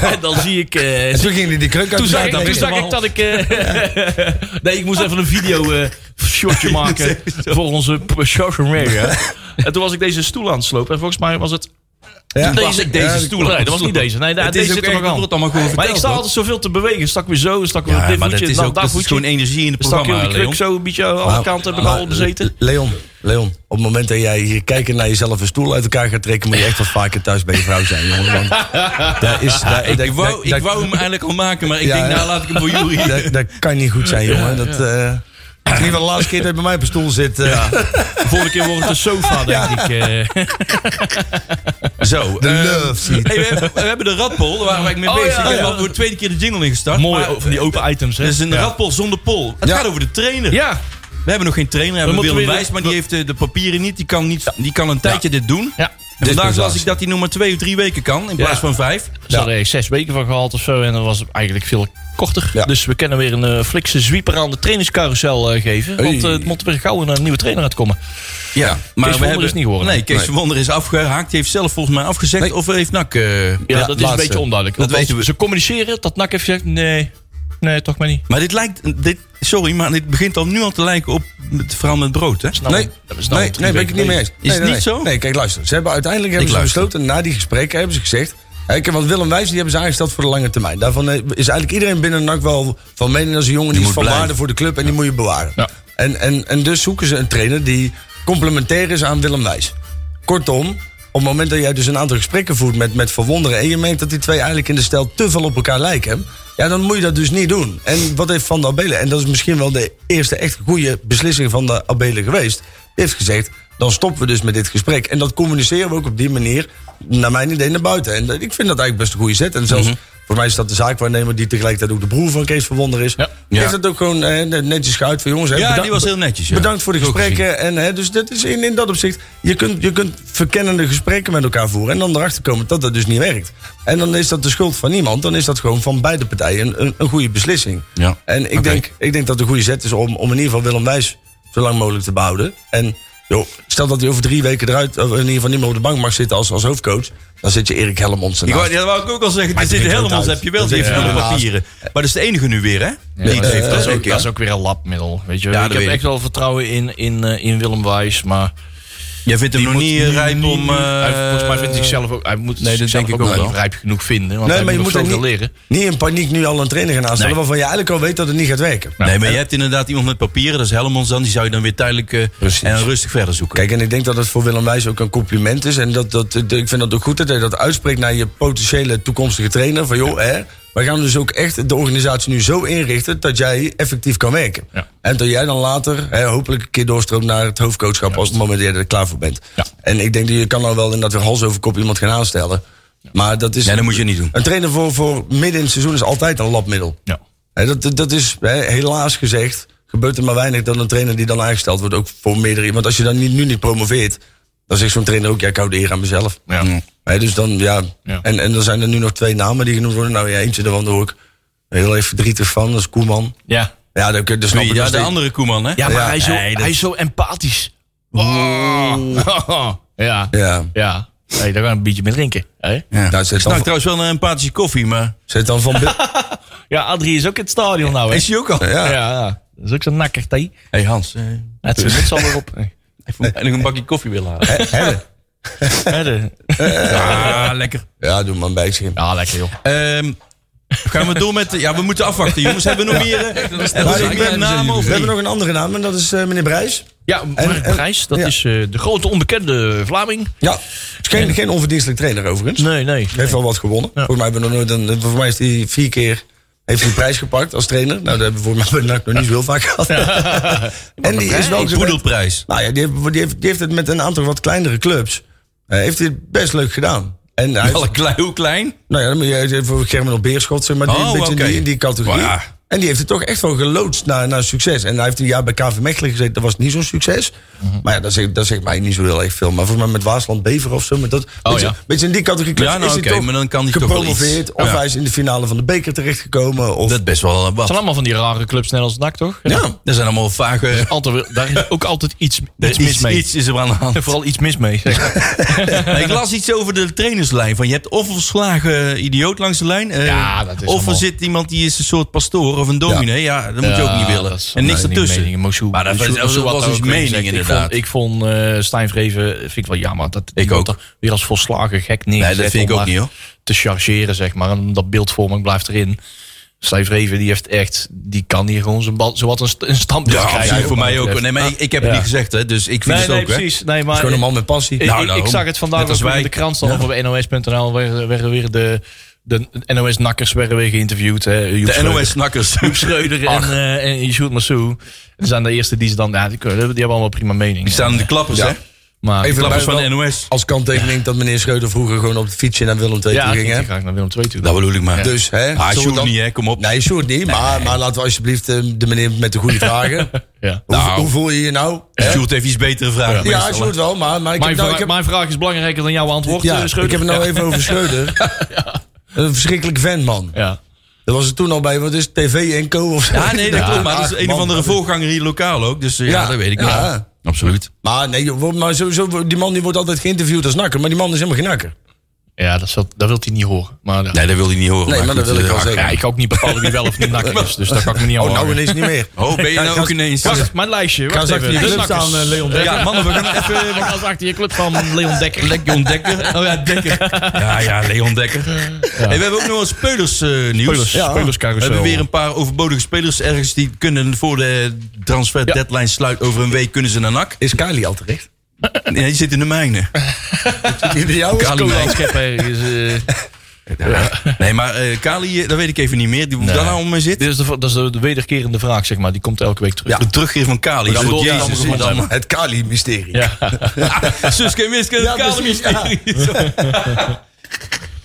S4: en dan zie ik... eh,
S3: En toen ging hij die kruk uit
S4: toen
S3: de
S4: zag
S3: zaak
S4: ik, toen
S3: trekken.
S4: zag ik dat ik... eh, nee, ik moest even een video eh, shotje maken voor onze p- social media. En toen was ik deze stoel aan het slopen. En volgens mij was het...
S3: Ja.
S4: Deze, deze
S3: Ja,
S4: stoel. Nee, dat was niet deze. Nee, daar-
S2: Het is
S4: deze
S2: ook
S4: zit er
S2: echt-
S4: nog aan.
S2: er wordt allemaal gewoon
S4: maar ik
S2: verteld,
S4: sta
S2: hoor.
S4: altijd zoveel te bewegen. Stak weer zo, stak weer
S2: Ja,
S4: dit
S2: maar dat
S4: voetje,
S2: is
S4: dan
S2: ook
S4: dat
S2: dat is
S4: voetje.
S2: gewoon energie in het
S4: Stak heel
S2: programma,
S4: die
S2: Leon.
S4: kruk zo een beetje aan alle
S3: Maar-
S4: kanten heb ik
S3: maar-
S4: al bezeten.
S3: Leon, Leon, op het moment dat jij hier kijken naar jezelf een stoel uit elkaar gaat trekken, moet je echt wat vaker thuis bij je vrouw zijn, jongen. Want daar is, daar,
S2: Ik,
S3: daar-
S2: wou, ik
S3: daar-
S2: wou hem eigenlijk al maken, maar ik
S3: Ja,
S2: denk,
S3: ja.
S2: nou laat ik hem voor Jury.
S3: daar- daar- dat kan niet goed zijn, jongen. Dat, eh, het is in ieder geval de laatste keer dat je bij mij op een stoel zit. eh,
S4: De volgende keer wordt het een sofa, denk ik. eh.
S2: Zo.
S3: De
S2: eh,
S3: love seat.
S2: hey, we, hebben- we hebben de radpol, daar waren we eigenlijk mee
S4: Oh,
S2: bezig.
S4: ja,
S2: Ik heb
S4: ja.
S2: al voor de tweede keer de jingle ingestart.
S4: Mooi,
S2: maar-
S4: oh, van die open items, hè?
S2: Het is een radpol zonder pol. Het
S3: Ja.
S2: gaat over de trainer.
S4: Ja,
S2: We hebben nog geen trainer, we hebben
S4: moeten
S2: Willem
S4: weer-
S2: Wijs, maar die heeft eh, de papieren niet. Die kan, niet, die kan een tijdje dit doen.
S4: ja.
S2: En vandaag las
S3: Dispensatie.
S2: ik dat hij nog maar twee of drie weken kan, in
S4: Ja.
S2: plaats van vijf.
S4: Ze hadden er zes weken van gehad of zo en dat was eigenlijk veel korter.
S3: Ja.
S4: Dus we kunnen weer een eh, flikse zwieper aan de trainingscarousel eh, geven. Want eh, het moet weer gauw een eh, nieuwe trainer uitkomen.
S2: Ja, maar
S4: Wonder
S3: dus
S4: is niet geworden.
S2: Nee, Kees
S4: Nee.
S2: van Wonder is afgehaakt. Die heeft zelf volgens mij afgezegd of heeft NAC... eh,
S4: Ja,
S3: Ja,
S4: dat is een
S3: laatste.
S4: beetje onduidelijk.
S2: Dat
S4: Althans,
S2: weten we.
S4: Ze communiceren dat NAC heeft gezegd, nee, nee, toch maar niet.
S2: Maar dit lijkt... Dit, sorry, maar dit begint al nu al te lijken op het verhaal met brood, hè?
S4: Nou,
S3: Nee,
S4: dat is nou
S3: nee,
S4: drie
S3: nee ben ik het
S4: weken
S3: niet mee
S4: geleden.
S3: eens.
S2: het
S3: Nee, nee,
S2: niet
S3: nee.
S2: zo?
S3: Nee, kijk, luister. Ze hebben uiteindelijk hebben ze
S2: luister.
S3: besloten, na die gesprekken hebben ze gezegd... hè, Ik heb wat Willem Wijs, die hebben ze aangesteld voor de lange termijn. Daarvan eh, is eigenlijk iedereen binnen NAC wel van mening dat ze jongen die,
S2: moet
S3: is van
S2: blijven.
S3: waarde voor de club en die moet je bewaren.
S4: Ja.
S3: En, en, en dus zoeken ze een trainer die complementair is aan Willem Wijs. Kortom, op het moment dat jij dus een aantal gesprekken voert met, met verwonderen... en je merkt dat die twee eigenlijk in de stijl te veel op elkaar lijken... ja, dan moet je dat dus niet doen. En wat heeft Van der Abelen, en dat is misschien wel de eerste echt goede beslissing van de Abelen geweest... heeft gezegd, dan stoppen we dus met dit gesprek. En dat communiceren we ook op die manier, naar mijn idee, naar buiten. En dat- ik vind dat eigenlijk best een goede zet. En zelfs,
S4: Mhm.
S3: voor mij is dat de zaakwaarnemer die tegelijkertijd ook de broer van Kees van Wonder is...
S4: Ja.
S3: heeft dat ook gewoon eh, netjes geuit voor jongens. hè,
S2: Ja,
S3: bedankt-
S2: die was heel netjes. ja.
S3: Bedankt voor de
S2: Zo gezien.
S3: gesprekken. En, hè, dus dat is in, in dat opzicht. Je kunt, je kunt verkennende gesprekken met elkaar voeren. En dan erachter komen dat dat dus niet werkt. En dan is dat de schuld van niemand. Dan is dat gewoon van beide partijen een, een, een goede beslissing.
S2: Ja.
S3: En ik,
S2: Oké.
S3: denk, ik denk dat de goede zet is om, om in ieder geval Willem Wijs zo lang mogelijk te behouden. En joh, stel dat hij over drie weken eruit, of in ieder geval niet meer op de bank mag zitten als, als hoofdcoach. Dan zit je Erik Helmonds
S2: Ik wou,
S3: ernaast.
S2: dat wou ik ook al zeggen. Er
S3: het
S2: zit
S3: drinkt
S2: helemaal,
S3: ook
S2: heb
S3: uit.
S2: je wel.
S3: Dat
S2: Die heeft
S3: drinkt
S2: nog
S3: ook uit.
S2: papieren. Maar dat is de enige nu weer, hè?
S4: Ja,
S2: die iets
S4: dat,
S2: heeft,
S4: dat is ook,
S2: zeker.
S4: dat is ook weer een labmiddel. Weet je.
S2: Ja,
S4: ik
S2: dat
S4: heb
S2: weet
S4: echt
S2: ik.
S4: wel vertrouwen in, in, eh, in Willem Wijs, maar...
S2: Jij vindt hem nog niet eh, rijp om... eh,
S4: hij, volgens mij vindt hij zichzelf ook... Hij moet
S2: nee, dat
S4: zichzelf
S2: denk ik
S4: ook
S2: ook
S4: nog
S2: wel.
S4: niet rijp genoeg vinden, want
S3: Nee,
S4: hij
S3: maar je
S4: moet
S3: moet
S4: nog
S3: er
S4: zoveel
S3: niet,
S4: leren.
S3: niet in paniek nu al een trainer gaan aanstellen...
S2: Nee.
S3: waarvan je eigenlijk al weet dat het niet gaat werken.
S2: Nee, maar je hebt inderdaad iemand met papieren. Dat is Helmonds dan. Die zou je dan weer tijdelijk eh,
S3: Precies.
S2: en rustig verder zoeken.
S3: Kijk, en ik denk dat het voor Willem Wijs ook een compliment is. En dat, dat, ik vind dat ook goed dat hij dat uitspreekt naar je potentiële toekomstige trainer. Van joh, hè, wij gaan dus ook echt de organisatie nu zo inrichten dat jij effectief kan werken.
S4: Ja.
S3: En dat jij dan later hè, hopelijk een keer doorstroomt naar het hoofdcoachschap als het moment dat je er klaar voor bent.
S4: Ja.
S3: En ik denk dat je kan dan wel inderdaad weer hals over kop iemand gaan aanstellen. Maar dat is.
S2: Nee, dat moet je niet doen.
S3: Een trainer voor, voor midden in het seizoen is altijd een labmiddel.
S4: Ja.
S3: Hè, dat, dat- dat is hè, helaas gezegd. Gebeurt er maar weinig dat een trainer die dan aangesteld wordt ook voor meerdere. Want als je dan niet, nu niet promoveert, dan zegt zo'n trainer ook: ja, ik hou de eer aan mezelf.
S4: Ja.
S3: Hè, dus dan, ja.
S4: Ja.
S3: En, en dan zijn er nu nog twee namen die genoemd worden. Nou ja, eentje daarvan daar hoor ik heel even verdrietig van. Dat is Koeman.
S4: Ja.
S3: Ja, dat, dat snap ik dus nog
S2: Ja, de
S3: steeds.
S2: andere Koeman, hè?
S4: Ja, maar hij, is zo,
S2: Nee, dat-
S4: hij is zo empathisch.
S2: Nou,
S4: ja.
S3: Ja.
S4: Ja. Hey, daar gaan we een beetje mee drinken. Hè?
S2: Ja.
S3: Nou, zet,
S2: Ik snap
S3: dan,
S2: trouwens wel een empathische koffie, maar...
S3: zet dan van. Bil-
S4: Ja, Adrie is ook in het stadion nou. Hè?
S2: Is hij ook al?
S4: ja.
S3: ja.
S4: ja. Dat is ook zo'n nakker, hè?
S2: hey Hans, eh,
S4: Het zit niks anders op.
S2: ik moet nog een bakje koffie willen halen.
S4: Hè, de-
S2: Ah, lekker.
S3: ja, doe maar een bijschim.
S4: Ja, lekker joh.
S2: Ehm, Gaan we door met... Ja, we moeten afwachten, jongens. Hebben we nog meer... eh,
S3: Maar
S2: ik
S3: ik ben-
S2: ben namen
S3: We
S2: of
S3: hebben
S2: niet?
S3: nog een andere naam en dat is eh, meneer Brijs.
S4: Ja, Mark
S3: en-
S4: Brijs, dat
S3: ja.
S4: is eh, de grote onbekende Vlaming.
S3: Ja, is geen, geen onverdienstelijk trainer overigens.
S4: Nee, nee.
S3: Heeft wel wat gewonnen. Volgens, mij hebben we nog nooit een, volgens mij is hij vier keer heeft hij de prijs gepakt als trainer. Nou, dat hebben we volgens mij bij NAC nog niet zo heel vaak gehad. en die is wel gewend-
S2: Poedelprijs.
S3: Nou ja, die heeft, die, heeft, die heeft het met een aantal wat kleinere clubs. eh, heeft hij het best leuk gedaan. En hij,
S2: Wel een klein- Hoe klein?
S3: nou ja, dan moet je even voor Germen op Beerschot, zeg maar. Die,
S2: Oh,
S3: een beetje in
S2: oké.
S3: die, in die categorie.
S2: Maar ja.
S3: En die heeft het toch echt wel geloodst naar, naar succes. En hij heeft een jaar bij KV Mechelen gezeten. Dat was niet zo'n succes.
S2: Mhm.
S3: Maar ja, dat zegt, dat zegt mij niet zo heel erg veel. Maar volgens mij met Waasland Bever of zo. Met dat, beetje,
S2: Oh, ja.
S3: beetje in die categorie clubs
S2: Ja, nou,
S3: is hij
S2: oké,
S3: toch
S2: maar dan kan hij toch wel
S3: gepromoveerd.
S2: iets.
S3: Of
S2: Ja.
S3: hij is in de finale van de beker terechtgekomen. Of,
S2: Dat is best wel eh,
S4: Het
S2: wat.
S4: zijn allemaal van die rare clubs, net als NAC, toch?
S2: Ja, dat zijn allemaal vage...
S4: Altijd, daar is ook altijd iets,
S2: Er
S4: iets mis mee.
S2: Iets is er aan de hand.
S4: En vooral iets mis mee.
S2: Maar ik las iets over de trainerslijn. Van je hebt of een verslagen idioot langs de lijn. eh,
S4: Ja, dat
S2: of
S4: is
S2: er
S4: allemaal-
S2: zit iemand die is een soort pastoor of een dominee. Ja, dat moet je ook niet willen. En niks ertussen. maar dat was, dat was een mening inderdaad.
S4: Ik vond, ik vond eh, Stijn Vreven, vind ik wel jammer. Dat die
S2: Ik
S4: wordt
S2: ook.
S4: er Weer als volslagen gek neergezet.
S2: Nee, dat vind ik
S4: om
S2: ook
S4: maar
S2: niet, hoor.
S4: Te chargeren, zeg maar. En dat beeldvorming blijft erin. Stijn Vreven, die heeft echt... Die kan hier gewoon zijn bal, zowat een, st- een stampje
S2: ja,
S4: krijgen.
S2: absoluut, voor
S4: wat
S2: mij
S4: dat
S2: ook.
S4: betreft.
S2: Nee, maar ik, ik heb
S4: Ja.
S2: het niet gezegd, hè, dus ik vind
S4: Nee,
S2: het
S4: nee,
S2: ook. hè.
S4: precies. Nee, maar
S3: gewoon een man met passie.
S4: ik,
S2: Nou,
S4: ik, ik
S2: daarom.
S4: zag het vandaag
S2: Net als
S4: ook weer
S2: wij.
S4: in de krant staan. Of op NOS.nl werden werden weer de, de NOS-nakkers werden weer geïnterviewd. Hè. Joep
S2: De
S4: Schreuder.
S2: NOS-snakkers.
S4: Joep Schreuder en, eh en Yusuf Massou. Dat zijn de eerste die ze dan... Ja, die, kunnen- die hebben allemaal prima mening.
S2: Die staan in de klappers, hè?
S4: maar,
S3: Even
S2: Klappers van
S3: erbij
S2: de
S3: wel
S2: NOS.
S3: Als kanttekening dat meneer Schreuder vroeger gewoon op het fietsje naar Willem II
S4: ja,
S3: toe ging.
S4: ging
S3: hè?
S4: graag naar Willem II toe.
S2: Dat bedoel ik maar.
S3: Dus, hè?
S2: Ah,
S3: zullen we
S2: Sjoerd
S3: dan-
S2: niet, hè? Kom op.
S3: Nee, Sjoerd niet. Maar, maar laten we alsjeblieft eh, de meneer met de goede vragen...
S4: ja.
S3: Hoe,
S2: Nou.
S3: hoe voel je je nou?
S2: Sjoerd heeft iets betere vragen.
S3: Ja,
S2: meestal,
S3: hij moet
S2: hè.
S3: wel, maar, maar ik
S4: Mijn,
S3: heb, nou,
S4: vra-
S3: ik, heb,
S4: mijn vraag is belangrijker dan jouw antwoord,
S3: ja,
S4: eh, Schreuder.
S3: ik heb het nou
S4: Ja.
S3: even over Schreuder. Een verschrikkelijk ventman.
S4: Ja.
S3: Dat was het toen al bij, wat is het, TV en Co of zo.
S2: Ja, nee, dat klopt. Maar dat is
S3: Ach,
S2: een
S3: man.
S2: of andere voorganger hier lokaal ook. Dus eh, ja,
S3: Ja.
S2: dat weet ik
S3: Ja.
S2: wel. Absoluut.
S3: Maar, nee, joh, maar sowieso, die man die wordt altijd geïnterviewd als nakker, maar die man is helemaal geen nakker.
S2: Oh,
S4: Ja, dat, zal- dat wil hij niet horen. Maar, eh,
S2: Nee, dat wil hij niet horen.
S3: Nee, maar dat
S2: goed,
S3: wil ik wel
S2: eh,
S3: zeggen.
S4: ja, ik kan ook niet bepalen wie wel of niet nakker is. Dus dat kan ik me niet aan
S3: Oh, nou
S4: wagen.
S3: ineens niet meer.
S2: Oh, ben je
S3: Ja,
S2: nou
S3: ga-
S2: ook ineens...
S4: Wacht, mijn lijstje. Wacht
S3: eens achter je
S4: even. De
S3: club
S4: nakkers.
S3: staan, eh, Leon
S2: Ja, mannen, we gaan even...
S4: Eh, Wat was achter je club van Leon Dekker?
S2: Leon Dekker. Oh ja, Dekker. Ja, ja, Leon Dekker. Hey, we hebben ook nog wat spelers eh, nieuws.
S4: Spelers,
S2: Ja. We
S4: spelerscarousel.
S2: hebben weer een paar overbodige spelers ergens die kunnen voor de transfer deadline sluit over een week kunnen ze naar NAC.
S3: Is Kylie al terecht?
S2: Nee, die zit in de mijnen.
S3: Bij jou is
S2: Kali
S4: Koolwijk
S2: Mijn.
S4: Schepper is, eh,
S2: Nee, maar eh, Kali, eh, dat weet ik even niet meer. Die, Hoe daar nou om zit.
S4: Dit is de, dat is de, de wederkerende vraag, zeg maar. Die komt elke week terug.
S2: De terugkeer van Kali.
S4: Dat
S2: Voor
S4: wordt
S2: Jezus,
S4: allemaal
S2: is het
S4: gevonden.
S2: allemaal-
S3: Het Kali-mysterie.
S2: Suske Miske,
S3: Ja,
S2: Kali
S3: precies,
S2: mysterie.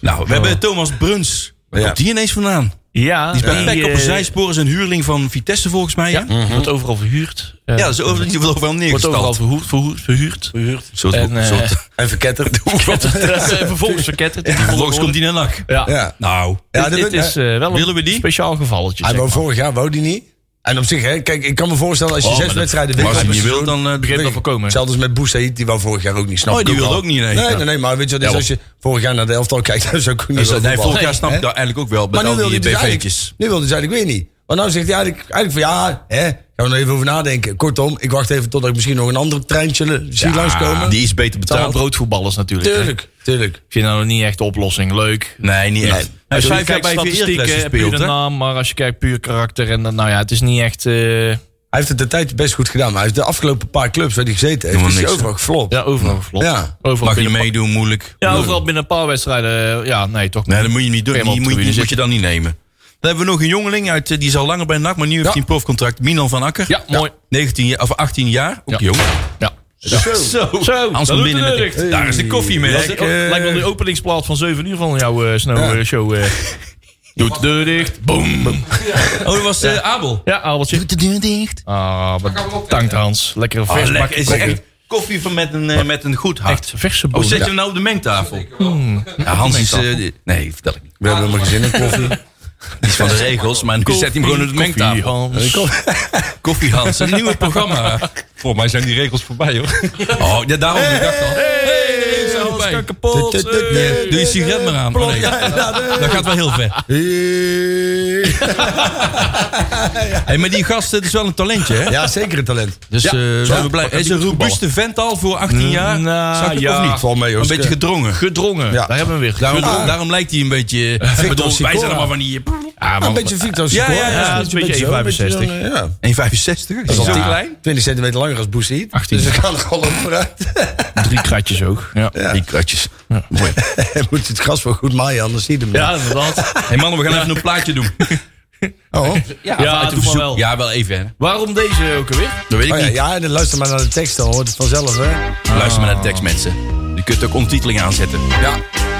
S2: Nou, we hebben Thomas Bruns. Waar
S3: Ja.
S2: komt die ineens vandaan?
S4: Ja,
S2: Die is bij Peck op een
S4: eh,
S2: zijspoor is een huurling van Vitesse volgens mij. hè?
S4: Ja, wordt overal verhuurd. Eh,
S2: Mhm. Ja, dat is over, die wordt overal
S4: wordt overal
S2: neergestald.
S4: verhuurd. verhuurd, verhuurd.
S2: Soort,
S4: En, eh,
S2: soort,
S3: En verketterd.
S4: Eh, vervolgens verketterd. Die
S2: Vervolgens komt
S4: die.
S2: die naar NAC.
S4: Ja,
S3: Ja.
S2: Nou,
S3: Ja,
S4: dit,
S3: dat
S4: dit
S3: wil-
S4: is eh, wel
S2: Willen we
S4: een
S2: die?
S4: speciaal gevalletje.
S3: Hij
S4: Zeg
S3: wou
S4: maar.
S3: vorig jaar, wou die niet. En op zich, hè, kijk, ik kan me voorstellen als je
S2: Oh, maar
S3: zes
S2: dat-
S3: wedstrijden
S2: maar als je
S3: wint...
S2: niet wil, dan eh,
S4: Begint
S2: begint
S4: dat
S2: dat
S4: voorkomen.
S3: Hetzelfde als met Boussaïd, die wou vorig jaar ook niet snappen.
S2: Oh, die wilde ook niet, nee.
S3: Nee,
S2: Ja.
S3: nee, nee, maar weet je, dus
S2: Ja,
S3: als je vorig jaar naar de elftal kijkt, dan zou ik niet
S2: Dus,
S3: willen
S2: nee,
S3: voetballen.
S2: vorig jaar snap ik
S3: Hè?
S2: dat eigenlijk ook wel. Met
S3: Maar nu
S2: al
S3: wilde
S2: die
S3: hij dus
S2: BV'tjes.
S3: eigenlijk, nu wilde hij eigenlijk weer niet. Maar nou zegt hij eigenlijk, eigenlijk van ja, hè, gaan we er even over nadenken. Kortom, ik wacht even totdat ik misschien nog een ander treintje zie langskomen.
S2: Die is beter
S4: Het zijn
S2: betaald.
S4: wel broodvoetballers natuurlijk. hè.
S3: Tuurlijk, tuurlijk.
S4: Ik vind dat nog niet echt de oplossing. Leuk.
S2: Nee, niet echt. Hij
S4: Als
S2: is
S4: je
S2: vijf jaar
S4: kijkt
S2: bij
S4: statistieken,
S2: Veerkles
S4: heb je
S2: gespeeld,
S4: de
S2: hè?
S4: naam. Maar als je kijkt puur karakter. En, dan- nou ja, het is niet echt... eh,
S3: Hij heeft het de tijd best goed gedaan, maar hij heeft de afgelopen paar clubs waar hij gezeten heeft,
S2: Helemaal
S3: is hij
S2: niks,
S3: overal geflopt.
S4: ja, overal geflopt.
S3: Ja.
S4: Overal
S2: Mag je
S4: binnen-
S2: meedoen, moeilijk.
S4: Ja, overal binnen een paar wedstrijden. eh, Ja, nee, toch
S2: Nee, dat moet je niet doen. Die
S4: Helemaal
S2: moet,
S4: op
S2: je-
S4: de
S2: die
S4: tribune
S2: moet je dan niet nemen. Dan hebben we nog een jongeling uit, eh, die is al langer bij NAC, maar nu heeft hij een profcontract. Minan van Akker.
S4: Ja, mooi.
S2: 19 jaar- of 18 jaar, ook
S4: Ja.
S2: jong.
S4: Ja.
S2: Zo.
S4: Zo,
S2: Hans van
S4: dat doet
S2: binnen
S4: het
S2: met
S4: deugd.
S2: de, Daar is de koffie mee. eh,
S4: Dat is- oh, lijkt wel de openingsplaat van 7 uur van jouw eh, Snow eh, Show. eh. Doet de deur dicht. Boom.
S2: Oh, dat was eh, Abel.
S4: Ja, Abeltje. Doet de deur dicht. Ah, bedankt Hans. Lekker vers
S2: Oh,
S4: bakje
S2: lekker. Is
S4: koffie.
S2: echt koffie van met een, eh, met een goed hart.
S4: Echt verse
S2: Oh,
S4: boom.
S2: zet je hem nou op de mengtafel? Ja, Hans is... eh, die- nee, vertel ik niet.
S3: We hebben helemaal geen zin in koffie.
S2: Die is van de regels, maar nu zet hij hem gewoon op de
S4: Koffie,
S2: mengtafel.
S4: Hans.
S2: Koffie Hans, een nieuw programma. Volgens mij zijn die regels voorbij, hoor. Oh, ja, daarom ik dacht al. Hey, hey, hey, Hartstikke
S1: erbij.
S2: kapot. eh, Doe je sigaret maar aan. Oh, nee. Dat gaat wel heel ver. Hey, maar die gast, het is wel een talentje, hè?
S3: Ja, zeker een talent.
S2: Dus eh, zijn we blij. Hij is een robuuste vent al voor 18 jaar.
S4: nou,
S2: Zag je het
S4: ja.
S2: of niet?
S3: Valt mee,
S2: een
S3: Joost.
S2: beetje gedrongen.
S4: Gedrongen.
S3: Ja.
S4: Daar hebben we weer.
S2: Daarom, daarom lijkt Eh, hij een beetje... Ik bedoel, wij
S3: Sicora.
S2: zijn allemaal van die... eh, Ja,
S3: Een
S2: man.
S3: beetje Victor
S2: Ja,
S3: Sicora.
S2: ja, ja,
S3: Dat is
S4: een beetje
S3: zo, een beetje
S4: 1,65.
S3: zo'n, eh, ja.
S2: 1,65? Is
S3: al
S2: dat
S3: tien.
S2: klein?
S3: 20 centimeter langer als Boesie.
S4: 18.
S3: Dus ze gaan er gewoon op vooruit.
S4: Drie kratjes ook. Ja,
S2: Die kratjes.
S3: En moet je het gras wel goed maaien, anders zie je hem niet.
S4: ja inderdaad.
S2: Hé mannen, we gaan even een plaatje doen.
S3: Oh.
S4: Ja, ja
S2: Uit
S4: toch
S2: de
S4: wel.
S2: verzoek- Ja, wel Oh, even, hè.
S4: Waarom deze ook alweer?
S2: Dat weet ik
S3: Oh ja,
S2: niet.
S3: ja, en dan luister maar naar de tekst, dan hoort het vanzelf, hè?
S2: Luister maar naar de tekst, mensen. Je kunt ook ondertiteling aanzetten. Ja.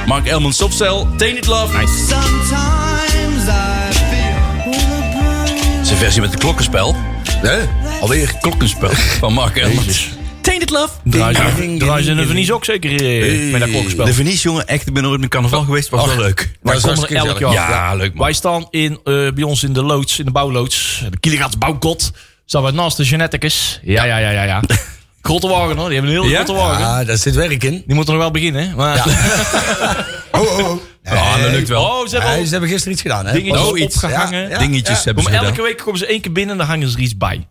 S2: Mark Elman, Stopcel, Tainted Love. Zijn versie met het klokkenspel.
S3: Nee, alweer.
S2: Klokkenspel van Mark Elman. Tainted Love.
S4: Draai ze in de Venice ook zeker eh, met dat klokspel.
S2: De Venice, jongen, echt, ik ben nooit met
S1: Oh.
S2: carnaval geweest. was wel leuk.
S4: Wij
S3: Oh. dat is
S4: komen er elk
S3: hartstikke
S4: jaar.
S2: gezellig. Ja, leuk, man.
S4: Wij staan in, eh, bij ons in de loods, in de bouwloods. De Kielegaats bouwkot. Staan wij naast de geneticus. Ja, ja, ja, ja. ja. Grotte wagen hoor. Die hebben een hele
S2: Ja?
S4: grote wagen.
S3: Ah, daar zit werk in.
S4: Die moeten nog wel beginnen. hè, Maar
S3: Oh, oh, oh.
S2: Ja, dat lukt wel.
S4: Oh, ze hebben
S3: Nee,
S4: al
S3: ze hebben gisteren iets gedaan, hè?
S4: dingetjes
S3: Was-
S2: Oh, iets.
S4: opgehangen.
S3: Ja, ja.
S2: Dingetjes hebben ze
S4: Om elke
S2: gedaan.
S4: week komen ze één keer binnen en dan hangen ze er iets bij.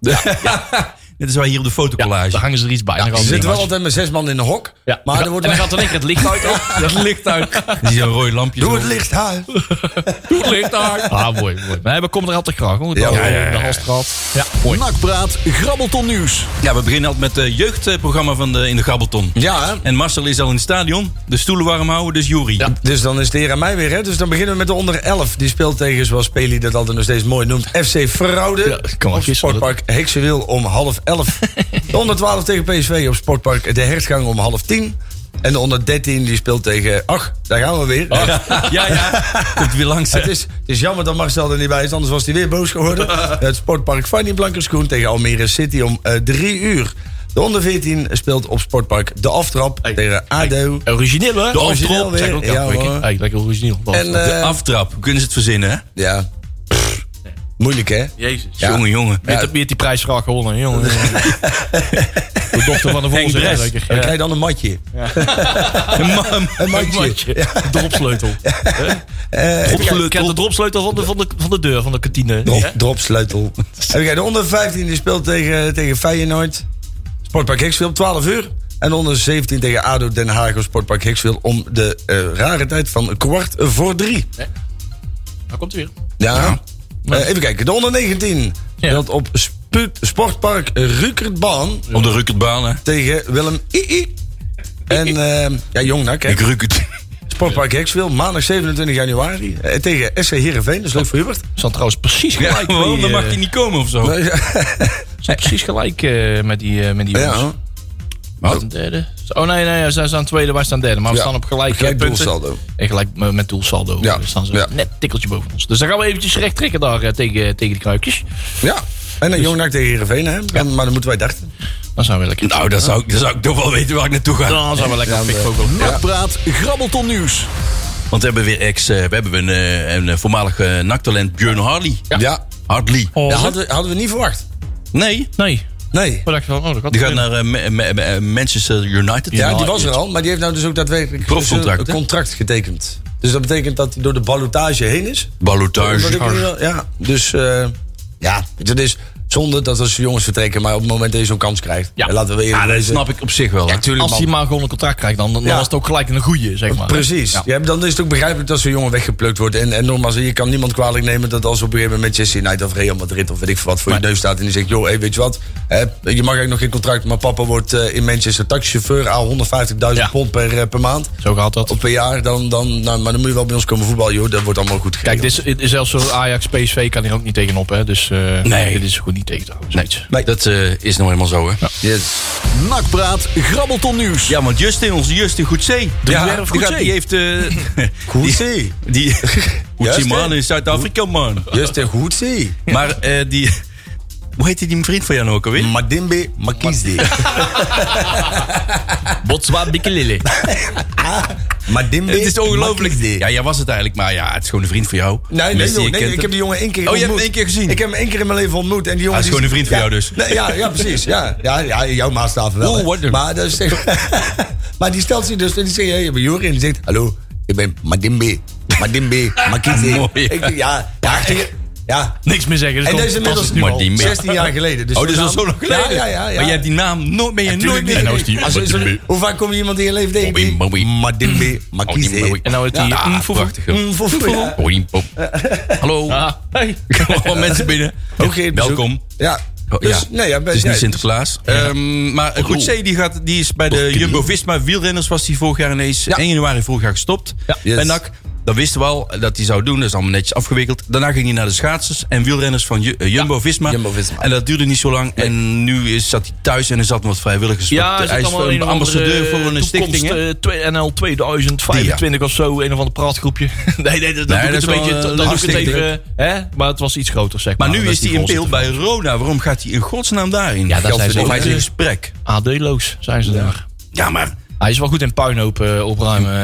S2: Dit is waar hier op de
S4: Ja, dan
S2: fotocollage.
S4: hangen ze er iets bij. Dan gaan
S3: Ze
S4: ze
S3: zitten wel
S4: dingen
S3: altijd met zes man in een hok.
S4: maken. Ja.
S3: Maar
S4: En
S3: er wordt
S4: dan gaat dan één keer het licht uit.
S2: Het licht uit. Die zo'n rooi lampje.
S3: Doe
S2: zo.
S3: het licht uit.
S4: Doe het licht uit. Ah, mooi, mooi. Nee, we komen er altijd graag. Hoor. Ja,
S3: ja,
S4: De Halstraat. Ja, mooi.
S6: Nakpraat, grabbelton nieuws.
S2: Ja, we beginnen altijd met het jeugdprogramma van de, in de Gabbelton.
S3: Ja, hè?
S2: En Marcel is al in het stadion. De stoelen warm houden, dus Jury.
S3: Dus dan is het hier aan mij weer, hè? Dus dan beginnen we met de onder 11. Die speelt tegen, zoals Peli dat altijd nog steeds mooi noemt, FC Fraude.
S4: Ja, kan wel
S3: op
S4: gissen,
S3: Sportpark Heksenwiel om half 11. De onder 12 tegen PSV op Sportpark De Hertgang om half 10. En de onder 13 die speelt tegen... Ach, daar gaan we weer.
S2: Ja, ja. Komt weer langs. hè.
S3: Het, is, het is jammer dat Marcel er niet bij is, anders was hij weer boos geworden. Het sportpark Fanny Blankerschoen tegen Almere City om eh, drie uur. De onder 14 speelt op sportpark De Aftrap tegen ADO.
S2: Oh.
S4: Origineel, hè?
S2: De
S3: Origineel
S2: aftrap.
S3: weer.
S2: Zeg ik ook
S3: Ja,
S2: elke week.
S3: hoor.
S4: Hey, lekker origineel.
S3: En,
S4: En,
S2: De
S3: eh,
S2: aftrap. Hoe kunnen ze het verzinnen, hè?
S3: ja. Pff, Moeilijk, hè?
S4: Jezus.
S3: Ja.
S2: Jongen, jongen.
S4: Wie heeft- wie heeft die prijs graag gewonnen, jongen? de dochter van de voorzitter.
S2: Bres.
S4: zeker.
S3: Dan
S4: Ja.
S3: krijg je dan een matje.
S2: Een man.
S3: Een matje.
S4: Mandje. Eh, Dropsleutel. Dropsleutel. Krijg de dropsleutel van de, van, de, van de deur van de kantine.
S3: Drop,
S4: Ja.
S3: Dropsleutel. Heb jij de onder 15 die speelt tegen, tegen Feyenoord. Sportpark Hicksville om 12 uur. En de onder 17 tegen ADO Den Haag op Sportpark Hicksville om de eh, rare tijd van kwart voor drie.
S4: Daar komt hij weer.
S3: Ja. Eh, even kijken, de onder 19 speelt op Spu- Sportpark Rukertbaan
S2: Op de rukkertbaan, hè?
S3: tegen Willem II. En eh, ja, Jong Nak, hè.
S2: Ik ruk het.
S3: Sportpark Hekswil, maandag 27 januari eh, tegen SC Heerenveen. Dat is leuk voor Hubert.
S4: Zat trouwens precies
S2: Ja,
S4: gelijk.
S2: waarom?
S4: die,
S2: Dan
S4: eh,
S2: mag je niet komen of zo.
S4: zat precies gelijk eh, met die, eh, met die jongens.
S3: Ja,
S4: Wat? Een derde? Oh nee, nee, zij staan tweede, wij staan derde. Maar we
S3: Ja.
S4: staan op gelijk,
S3: Gelijk
S4: eh, punten.
S3: doelsaldo.
S4: En gelijk eh, met doelsaldo.
S3: Ja.
S4: We staan ze
S3: Ja.
S4: net tikkeltje boven ons. Dus dan gaan we eventjes recht trekken daar eh, tegen, tegen die kruikjes.
S3: ja. En dan Jong Nak tegen Heerenveen, hè. En- Maar dan moeten wij dachten.
S4: Dan zijn we lekker.
S2: Nou, dan zou, ik, dan zou ik toch wel weten waar ik naartoe ga. eh,
S4: Dan zijn we lekker aan het pikvogelen.
S6: Nakpraat, grabbelton nieuws.
S2: Want we hebben weer ex... eh, we hebben een, eh, een eh, voormalig eh, naktalent, Björn Harley.
S3: Ja.
S2: Hartley.
S4: Oh,
S3: Dat hadden, we- hadden we niet verwacht.
S2: Nee,
S4: Nee,
S3: Nee.
S4: we dachten van, oh, dat gaat
S2: die gaat
S4: weer.
S2: naar eh, Ma- Ma- Ma- Manchester United.
S3: Ja, die was er al, maar die heeft nou dus ook daadwerkelijk
S2: Profcontract,
S3: dus
S2: hè?
S3: een contract getekend. Dus dat betekent dat hij door de ballotage heen is.
S2: Ballotage.
S3: Omdat ik nu wel- ja, dus eh, ja, dat is zonde dat als jongens vertrekken, maar op het moment dat je zo'n kans krijgt.
S4: Ja.
S3: En laten we
S2: Ja,
S3: eerlijk
S2: dat
S3: wezen.
S2: snap ik op zich wel. hè.
S3: Tuurlijk,
S4: Als hij
S3: man.
S4: maar gewoon een contract krijgt, dan, dan
S3: Ja.
S4: was het ook gelijk een goeie, zeg maar.
S3: Precies. Ja. dan is het ook begrijpelijk dat zo'n jongen weggeplukt wordt. En, en nogmaals, je kan niemand kwalijk nemen dat als op een gegeven moment Manchester United of Real Madrid of weet ik veel wat voor je neus staat. En die zegt, joh, hey, weet je wat, hè, je mag eigenlijk nog geen contract, maar papa wordt eh, in Manchester taxichauffeur aan 150.000
S4: Ja.
S3: pond per, eh, per maand.
S4: Zo gaat dat.
S3: Of per jaar, dan, dan, nou, maar dan moet je wel bij ons komen voetballen, joh, dat wordt allemaal goed geregeld.
S4: Kijk, dit is, dit is zelfs zo'n Ajax, PSV kan hier ook niet tegenop, hè. Dus eh,
S2: Nee.
S4: dit is goed niet tegen te houden. zoiets.
S2: Nee. Dat eh, is nou helemaal zo, hè? Ja,
S6: Nakpraat, grabbelton nieuws.
S2: want Justin, onze Justin Goedzee.
S3: Ja,
S2: die,
S3: Goedzee.
S2: gaat- die heeft... eh
S3: Goedzee.
S2: Die, die, Goedzee,
S3: Justin. eh,
S2: man, in Zuid-Afrika, man.
S3: Justin Goedzee.
S2: Maar eh, die, Hoe heette die vriend van jou nou ook alweer?
S3: Mm, Madimbe Makizdi.
S4: Botswa Bikelele.
S3: Madimbe
S2: Het is ongelooflijk.
S3: Makizdi.
S2: Ja, jij was het eigenlijk, maar ja, het is gewoon een vriend van jou.
S3: Nee, nee,
S2: Mensen die
S3: joh,
S2: je
S3: nee
S2: kent,
S3: ik heb die jongen één keer
S2: Oh, je hebt
S3: ontmoet.
S2: hem één keer gezien?
S3: Ik heb hem één keer in mijn leven ontmoet. En die jongen
S2: Hij is
S3: die-
S2: gewoon een vriend van
S3: ja.
S2: jou dus.
S3: Nee, ja, ja, precies. Ja, ja, ja in jouw maatstaven wel.
S2: Oeh,
S3: hè.
S2: wat een-
S3: maar, dat is tegen- maar die stelt zich dus en die zegt, hey, ik ben Jori. En die zegt, hallo, ik ben Madimbe. Madimbe, Makize.
S2: Mooi.
S3: Ik denk, ja, ja, echt, ja.
S4: Niks meer zeggen.
S3: En dat is inmiddels nu al
S2: Madimbe.
S3: 16 jaar geleden. Dus
S2: Oh, dus
S3: zo'n
S2: dat is al zo
S3: naam-
S2: lang geleden.
S3: Ja, ja, ja. ja.
S2: Maar jij hebt die nou naam nooit meer, nooit
S3: Tuurlijk
S2: meer.
S3: niet. nou
S2: gekregen.
S3: Als je- zo- Hoe vaak kom je iemand in je leven tegen? die-
S2: Madimbe.
S3: Madimbe,
S2: Mm.
S3: Makize.
S4: En nou heeft hij...
S2: Ja,
S4: mm, foe, foe.
S2: prachtig, joh.
S4: Mm, foe, foe.
S3: Ja.
S2: Boing, boing. Hallo.
S4: Ah, hey.
S2: Gewoon mensen binnen. dus
S3: Ook geen bezoek.
S2: Welkom.
S3: Ja.
S2: Oh,
S3: Dus,
S2: ja.
S3: nee, ja,
S2: Het is
S3: ja,
S2: niet Sinterklaas. Ehm, maar eh, goed, C die, gaat, die is bij de Jumbo-Visma wielrenners was hij vorig jaar ineens 1 januari vorig jaar gestopt.
S4: Ja.
S3: Yes.
S2: Bij NAC. Dat wisten we al dat hij zou doen. Dat is allemaal netjes afgewikkeld. Daarna ging hij naar de schaatsers en wielrenners van Ju- eh, Jumbo-Visma.
S3: Jumbo-Visma.
S2: En dat duurde niet zo lang. En nu is, zat hij thuis en er zat wat vrijwilligers.
S4: Ja,
S2: Want,
S4: hij
S2: eh, hij
S4: is
S2: is
S4: allemaal
S2: een
S4: een
S2: ambassadeur voor een stichting.
S4: eh,
S2: hè?
S4: NL 2025 of zo, een of ander praatgroepje. Nee, nee, dat, dat
S2: Nee,
S4: doe ik
S2: dat
S4: het
S2: is
S4: een beetje.
S2: wel, eh,
S4: Dat doe ik het
S2: hartstikke
S4: even. Hè? Maar het was iets groter, zeg maar.
S2: Maar nu
S4: Ah, Dat
S2: is hij
S4: die
S2: in beeld bij Roda. Waarom gaat hij in godsnaam daarin?
S4: Ja, daar
S2: Geld
S4: zijn ze
S2: verdienen. Hij
S4: ook-
S2: is in gesprek.
S4: voorzitter. AD-loos zijn ze daar.
S2: Ja, maar,
S4: Hij is wel goed in puinhoop eh, opruimen.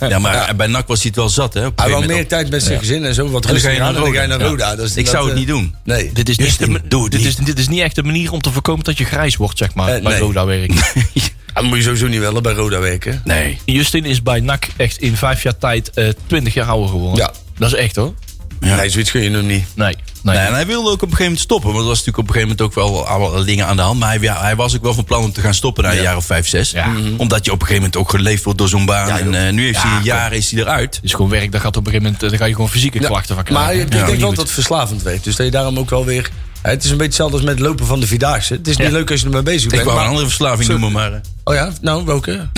S2: ja, maar bij NAC was hij het wel zat. Hè, op een
S3: Hij
S2: gegeven
S3: wil
S2: moment
S3: meer tijd met zijn gezin en zo. Wat
S2: dan ga je
S3: rustig aan
S2: naar
S3: en dan ga je
S2: Roda.
S3: naar Roda.
S2: Ja.
S3: Dus
S2: Ik zou het
S3: dat,
S2: niet
S3: eh,
S2: doen.
S3: Nee.
S4: dit, is niet
S2: Justin,
S4: de,
S2: doe het
S4: dit,
S2: niet.
S4: is, dit is niet echt de manier om te voorkomen dat je grijs wordt, zeg maar,
S3: Eh,
S4: bij
S3: nee.
S4: Roda werk.
S3: Ah, Dan moet je sowieso niet willen bij Roda werken.
S2: Nee.
S4: Justin is bij NAC echt in vijf jaar tijd eh 20 jaar ouder geworden.
S3: Ja.
S4: Dat is echt hoor.
S3: Nee, zoiets kun je hem niet.
S4: Nee, nee.
S2: en hij wilde ook op een gegeven moment stoppen. Want er was natuurlijk op een gegeven moment ook wel allerlei dingen aan de hand. Maar hij, ja, hij was ook wel van plan om te gaan stoppen na een jaar of vijf, zes.
S4: Ja. Mhm.
S2: Omdat je op een gegeven moment ook geleefd wordt door zo'n baan. en eh, nu heeft hij een jaar is hij eruit.
S4: Het is gewoon werk, dat gaat op een gegeven moment, eh, daar ga je gewoon fysieke klachten van krijgen.
S3: Maar eh, ik
S4: Ja.
S3: denk
S4: Niet
S3: wel
S4: goed.
S3: dat het verslavend werkt. Dus dat je daarom ook wel weer... hè, Het is een beetje hetzelfde als met het lopen van de Vierdaagse. Het is niet
S4: Ja.
S3: leuk als je ermee bezig
S2: Ik
S3: bent.
S2: wou een
S3: maar-
S2: andere verslaving
S3: Zo-
S2: noemen, maar... eh,
S3: Oh ja? Nou, welke?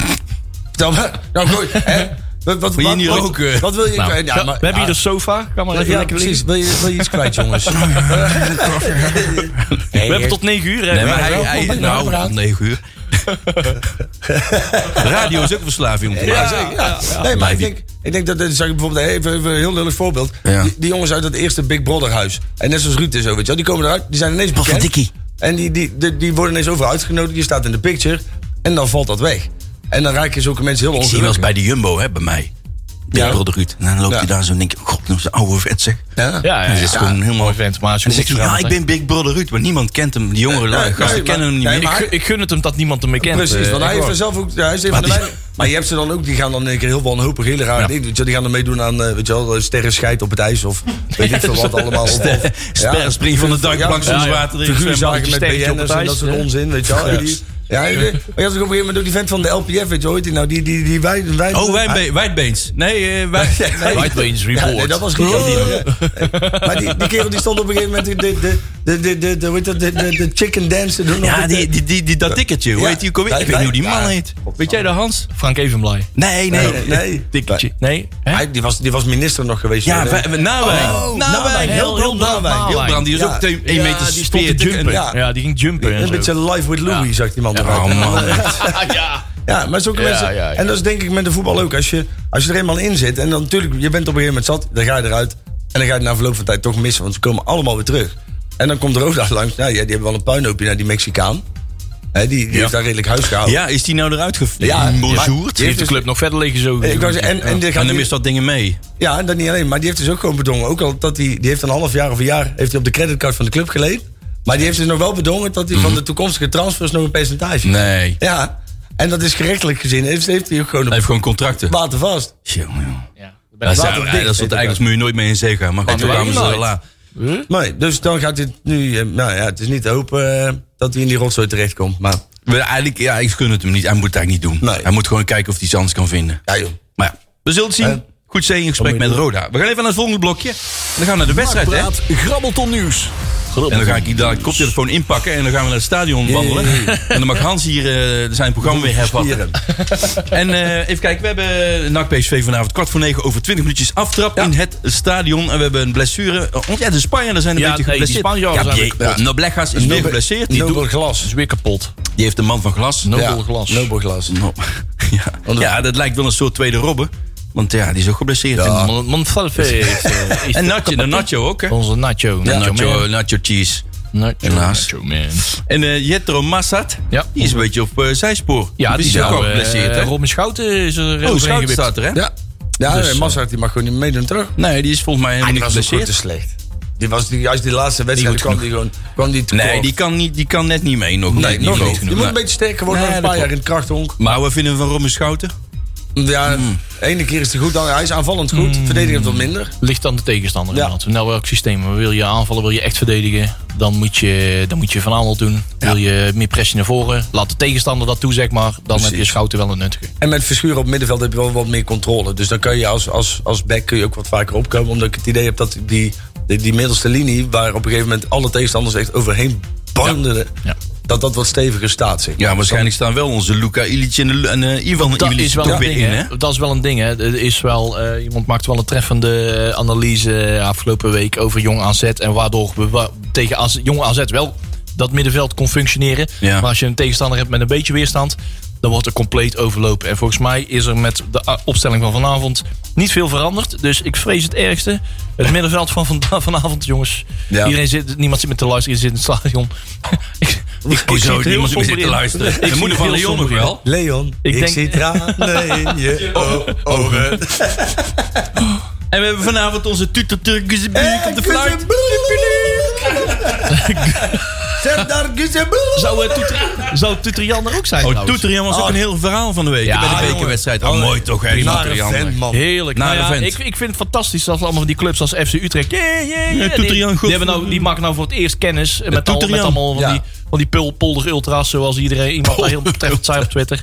S3: Vertel maar. Nou, goed. hè? Wat, wat,
S2: Wil je
S3: wat-
S2: niet
S3: wat-
S2: roken?
S3: Wat wil je...
S4: Nou,
S3: ja, maar-
S4: we hebben
S3: ja,
S4: hier de sofa. Ga maar
S2: dus-
S4: even
S3: ja,
S4: lekker
S3: precies.
S4: liggen.
S3: Wil je, wil je iets kwijt, jongens?
S4: We hebben tot 9 uur. hè?
S2: Nee, maar
S4: Ja,
S2: hij,
S4: wel.
S2: hij- nou, om negen uur. Radio is ook een verslaving om te maken.
S3: Ja, ja. Nee, maar ik denk, ik denk dat, dat zag ik bijvoorbeeld even, even een heel lullig voorbeeld.
S2: Ja.
S3: Die, die jongens uit dat eerste Big Brother huis. En net zoals Ruud en zo, weet je wel, die komen eruit, die zijn ineens bekend. En die, die, die, die worden ineens overal uitgenodigd, je staat in de picture. En dan valt dat weg. En dan raken zulke mensen heel
S2: Ik zie wel eens
S3: ongelukkig.
S2: bij de Jumbo, hè, bij mij.
S3: Ja.
S2: Ja. Ruud. En dan loopt
S3: Ja.
S2: hij daar zo en denk ik, god, nou is een oude vet zeg.
S3: Ja.
S4: Ja, ja,
S2: Hij
S4: ja.
S2: is gewoon helemaal...
S4: Mooi vent, maar als je
S2: En dan zegt
S4: niks
S2: hij, ja,
S4: verandert,
S2: ik
S4: hè.
S2: ben Big Brother Ruut, maar niemand kent hem. Die jongere lui-
S3: nee,
S2: gasten
S3: nee,
S2: kennen hem niet
S3: nee,
S2: meer.
S3: maar-
S4: Ik, ik gun het hem dat niemand hem meer kent.
S3: Precies,
S4: eh,
S3: want hij
S4: echt
S3: heeft er
S4: waar.
S3: zelf ook. ja, Hij is een van de
S2: Maar die-
S3: weinigen. maar je hebt ze dan ook, die gaan dan in een keer heel wanhopig hele rare dingen. Weet je, wel, die gaan dan meedoen aan eh, weet je wel, sterren scheid op het ijs of weet ik veel wat allemaal. Of- of-
S2: Sper, spring van de duikbank
S3: Ja,
S2: zonder
S4: ja, ja.
S2: water in.
S3: figuurzaken
S4: zwembadje,
S3: met
S4: steentje op
S3: BN'ers
S4: het
S3: en
S4: ijs,
S3: dat soort
S4: hè?
S3: onzin, weet je wel. En die- Ja, die- maar je had ook op een gegeven moment ook die vent van de LPF, weet je wel, heet die nou, die, die, die wij, wij
S2: Oh, Wijnbe- Whitebeens. Nee, Oh. eh, wij-
S4: White Wayne's
S3: Ja,
S4: Report. Oh.
S3: nee, dat was geen Maar die, die kerel die stond op een gegeven moment de, de, de, de, de, de, hoe heet dat, de, de, de chicken dance te doen. op
S2: Ja,
S3: het-
S2: Ah, die, die, die, die, dat tikkertje. Hoe
S3: Ja.
S2: heet die ook alweer? Ik weet niet hoe die man heet. Weet jij dat, Hans?
S4: Frank Evenblij.
S2: Nee, nee.
S3: Nee, nee.
S4: Tikkertje. Nee? Hè?
S3: Hij, die, was, die was minister nog geweest.
S2: Ja, nou,
S3: joh.
S2: Nawijn.
S4: Oh,
S2: Nawijn.
S3: Nawijn, heel
S2: nou, Heel
S3: Hilbrand Nawijn.
S2: Hilbrand, die is
S3: Ja.
S2: ook 1
S4: Ja,
S2: meter
S4: die stond te
S2: 40 en-
S4: jumpen.
S3: Ja.
S4: Ja. die ging jumpen en
S3: Een
S4: zo.
S3: beetje live with Louis, zegt die man eruit.
S2: Oh man, echt.
S4: ja.
S3: Ja, maar zulke
S4: Ja,
S3: mensen.
S4: ja, ja.
S3: En dat is denk ik met de voetbal ook. Als je, als je er eenmaal in zit. En dan natuurlijk, je bent op een gegeven moment zat. Dan ga je eruit. En dan ga je het na verloop van tijd toch missen. Want ze komen allemaal weer terug. En dan komt Roda langs. Nou ja, die hebben wel een puinhoopje naar die Mexicaan. Hè, die die heeft daar redelijk huis gehouden.
S2: Ja, is die nou eruit
S3: Ja,
S2: gevoerd?
S4: Die heeft de club nog verder liggen zo.
S3: Ik wou zeggen, en, en, die gaat
S2: En dan
S3: die-
S2: is dat dingen mee.
S3: ja, en dat niet alleen. Maar die heeft dus ook gewoon bedongen. Ook al dat die, die heeft een half jaar of een jaar heeft hij op de creditcard van de club geleend. Maar die heeft dus nog wel bedongen dat hij van de toekomstige transfers nog een percentage
S2: Mhm. Nee. Hij
S3: Ja, en dat is gerechtelijk gezien. Heeft, heeft hij ook gewoon op
S2: heeft gewoon contracten.
S3: watervast.
S2: Jongen, jongen.
S4: Ja.
S2: Dat, is-
S3: waterdicht,
S2: ja, dat soort
S3: heet dat.
S2: eigenlijk moet je nooit mee in zee gaan. Maar goed,
S4: weet
S2: daarom
S4: je
S2: is het
S4: nooit.
S2: la.
S3: Nee, dus dan gaat dit nu. eh, Nou ja, het is niet te hopen eh, dat hij in die rotzooi terechtkomt. Maar
S2: We- Eigenlijk, ja, ik gun het hem niet. Hij moet het eigenlijk niet doen.
S3: Nee.
S2: Hij moet gewoon kijken of hij iets anders kan vinden.
S3: ja, joh.
S2: Maar ja, we zullen het zien.
S3: Eh?
S2: Goed zee in gesprek
S3: Wat moet
S2: met
S3: je
S2: Roda. We gaan even naar het volgende blokje. En dan gaan we naar de wedstrijd, hè?
S6: Nakpraat, grabbelton nieuws.
S2: En dan ga ik hier dadelijk koptelefoon inpakken en dan gaan we naar het stadion wandelen. En dan mag Hans hier eh, zijn programma weer hervatten.
S3: Spieren.
S2: En eh, even kijken, we hebben NAC PSV vanavond kwart voor negen over 20 minuutjes aftrap in het stadion. En we hebben een blessure. Oh, ja, de Spanjaarden zijn een
S4: Ja,
S2: beetje
S4: nee, die
S2: geblesseerd.
S4: Spanjaarden
S2: ja,
S4: zijn
S2: die-
S4: kapot.
S2: ja. Noblegas is weer
S3: Nobe-
S2: geblesseerd. Die,
S3: Nobel
S2: doet-
S3: glas.
S4: is weer kapot.
S2: die heeft een man van glas.
S4: Nobel glas.
S3: Nobel glas.
S2: No- ja. ja, dat lijkt wel een soort tweede Robben. Want ja, die is ook geblesseerd.
S4: Ah.
S2: En-
S4: Mon- Monsalve is, eh, is
S2: En
S4: de
S2: Nacho, de
S4: kapot. Oh,
S2: Nacho ook, hè?
S4: Onze Nacho.
S2: Ja,
S4: Nacho,
S2: nacho,
S4: man.
S2: nacho cheese.
S4: Nacho,
S1: Helaas.
S4: Nacho Man.
S2: En eh Jetro Massad,
S4: Ja.
S2: die is een beetje op eh, zijspoor.
S4: Ja, die
S2: is ook al
S4: zou...
S2: geblesseerd,
S4: eh
S2: hè?
S4: Robin Schouten is er
S2: Oh,
S4: overheen
S2: Schouten
S4: gewipt.
S2: staat er, hè?
S3: Ja, ja
S4: Dus,
S3: en Mazhar, die mag gewoon niet meedoen terug.
S2: Nee, die is volgens mij helemaal niet geblesseerd.
S3: slecht. Die was die, juist die laatste wedstrijd
S2: goed
S3: kwam die gewoon kwam die tekort.
S2: Nee, die kan, niet, die kan net niet mee nog.
S3: Nee,
S2: Net niet
S3: nog
S2: hoog
S3: niet. Die
S2: genoeg.
S3: moet een
S2: Nee.
S3: beetje sterker worden.
S2: Nee,
S3: nog een
S2: dat
S3: paar jaar in
S2: klopt.
S3: het krachthonk.
S2: Maar wat vinden we van Robin Schouten?
S3: Ja, de ene keer is hij goed, dan, hij is aanvallend goed. Verdedigend wat minder.
S4: Ligt aan de tegenstander.
S3: Ja.
S4: inderdaad. Nou, welk systeem? Wil je aanvallen, wil je echt verdedigen? Dan moet je, dan moet je van aanval doen. Wil je meer pressie naar voren? Laat de tegenstander dat toe, zeg maar. Dan heb je Schouten wel een nuttige.
S3: En met Verschuren op middenveld heb je wel wat meer controle. Dus dan kan je als, als, als back kun je ook wat vaker opkomen. Omdat ik het idee heb dat die, die, die middelste linie... waar op een gegeven moment alle tegenstanders echt overheen bandelen...
S4: Ja.
S3: dat dat wat steviger staat. Zeg.
S2: Ja, waarschijnlijk staan wel onze Luca Ilic en, de Lu- en eh, Ivan
S4: Dat
S2: Ilic
S4: is wel
S2: er
S4: een
S2: weer
S4: ding,
S2: in,
S4: hè? Dat is wel een ding, hè? Er is wel, eh, iemand maakt wel een treffende eh, analyse eh, afgelopen week over jong AZ. En waardoor we wa- tegen AZ, jong AZ wel dat middenveld kon functioneren.
S2: Ja.
S4: Maar als je een tegenstander hebt met een beetje weerstand, dan wordt er compleet overlopen. En volgens mij is er met de a- opstelling van vanavond niet veel veranderd. Dus ik vrees het ergste. Het middenveld van vanda- vanavond, jongens.
S3: Ja.
S4: Iedereen zit, niemand zit met te luisteren, iedereen zit in het stadion. ik, ik,
S2: Oh,
S4: zie
S2: zo,
S4: het
S2: die
S4: heel
S2: moet
S4: somber
S2: zitten
S4: in.
S2: luisteren.
S4: Ik
S2: De
S4: zie
S2: moeder
S4: het
S2: van
S4: heel
S2: Leon nog
S4: somber in. Oh,
S2: wel.
S3: Leon,
S4: Ik
S3: ik,
S4: denk-
S3: zie tranen in je o- ogen.
S2: En we hebben vanavond onze tutor Turkse
S4: Eh,
S2: bier op de fluit.
S3: Zet daar
S4: Zou, eh, Toeter- zou Tutrian er ook zijn?
S2: Oh,
S4: trouwens?
S2: Toeterjan was ook een heel verhaal van de week.
S4: Ja,
S2: bij de
S4: jongen.
S2: bekerwedstrijd. Oh, mooi toch, hè? die Toeterjan.
S4: Heerlijk.
S2: Nare
S4: Nou ja,
S2: vent.
S4: ik, ik vind het fantastisch dat allemaal van die clubs als FC Utrecht. Yeah, yeah, yeah, die,
S2: Toeterjan, goed
S4: die, hebben
S2: voor-
S4: nou, die maken nou voor het eerst kennis eh, met, al, met
S2: Toeterjan.
S4: allemaal van
S3: Ja.
S4: die, van die pul, polder ultras, zoals iedereen iemand daar heel betreffend zei op Twitter.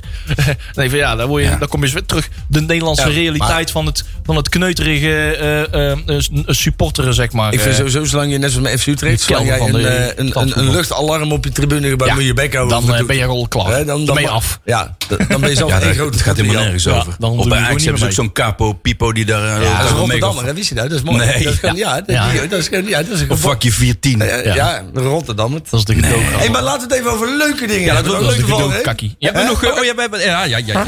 S4: nee, van ja, daar, word je, daar kom je eens weer terug. De Nederlandse realiteit van, het, van het kneuterige eh, eh, eh, s- supporteren, zeg maar.
S3: Ik vind
S4: Eh,
S3: sowieso, zolang je net zoals met FC Utrecht...
S4: Die
S3: zolang jij
S4: kelder
S3: een,
S4: van de
S3: eh, een, een, een
S4: stadvoetbal.
S3: luchtalarm op je tribune gebruikt...
S4: Ja,
S3: moet je je bek houden.
S4: dan,
S3: want dat
S4: eh, ben
S3: doet-
S4: je al klaar.
S3: Hè,
S4: Dan ben je af.
S3: Ja, d- dan ben je zelf
S2: Ja,
S3: één
S2: daar-
S3: grote
S2: het gaat helemaal
S3: kampioen.
S2: nergens
S4: Ja,
S2: over.
S4: dan
S2: Op
S4: doen
S2: bij
S4: we
S2: Ajax
S4: gewoon
S2: hebben ze ook
S4: niet
S2: zo'n capo, pipo die daar... eh,
S3: Ja, dat is Rotterdammer,
S2: Of,
S3: hè, wist je dat? Dat is mooi.
S2: Nee.
S3: dat is gewoon, ja. dat-
S4: Ja.
S3: die- dat is gewoon, ja, dat is
S2: of
S3: gewoon-
S2: vakje 14.
S3: Ja, ja, ja, Rotterdammer.
S4: dat is de gedoog.
S3: Hé, maar laten we het even over leuke dingen hebben.
S2: dat
S3: Want
S2: was
S3: leuk
S2: de
S3: geval, hè?
S4: kakkie.
S2: Je hebt nog... eh, Oh, ja, we hebben- ja, ja, ja. ja.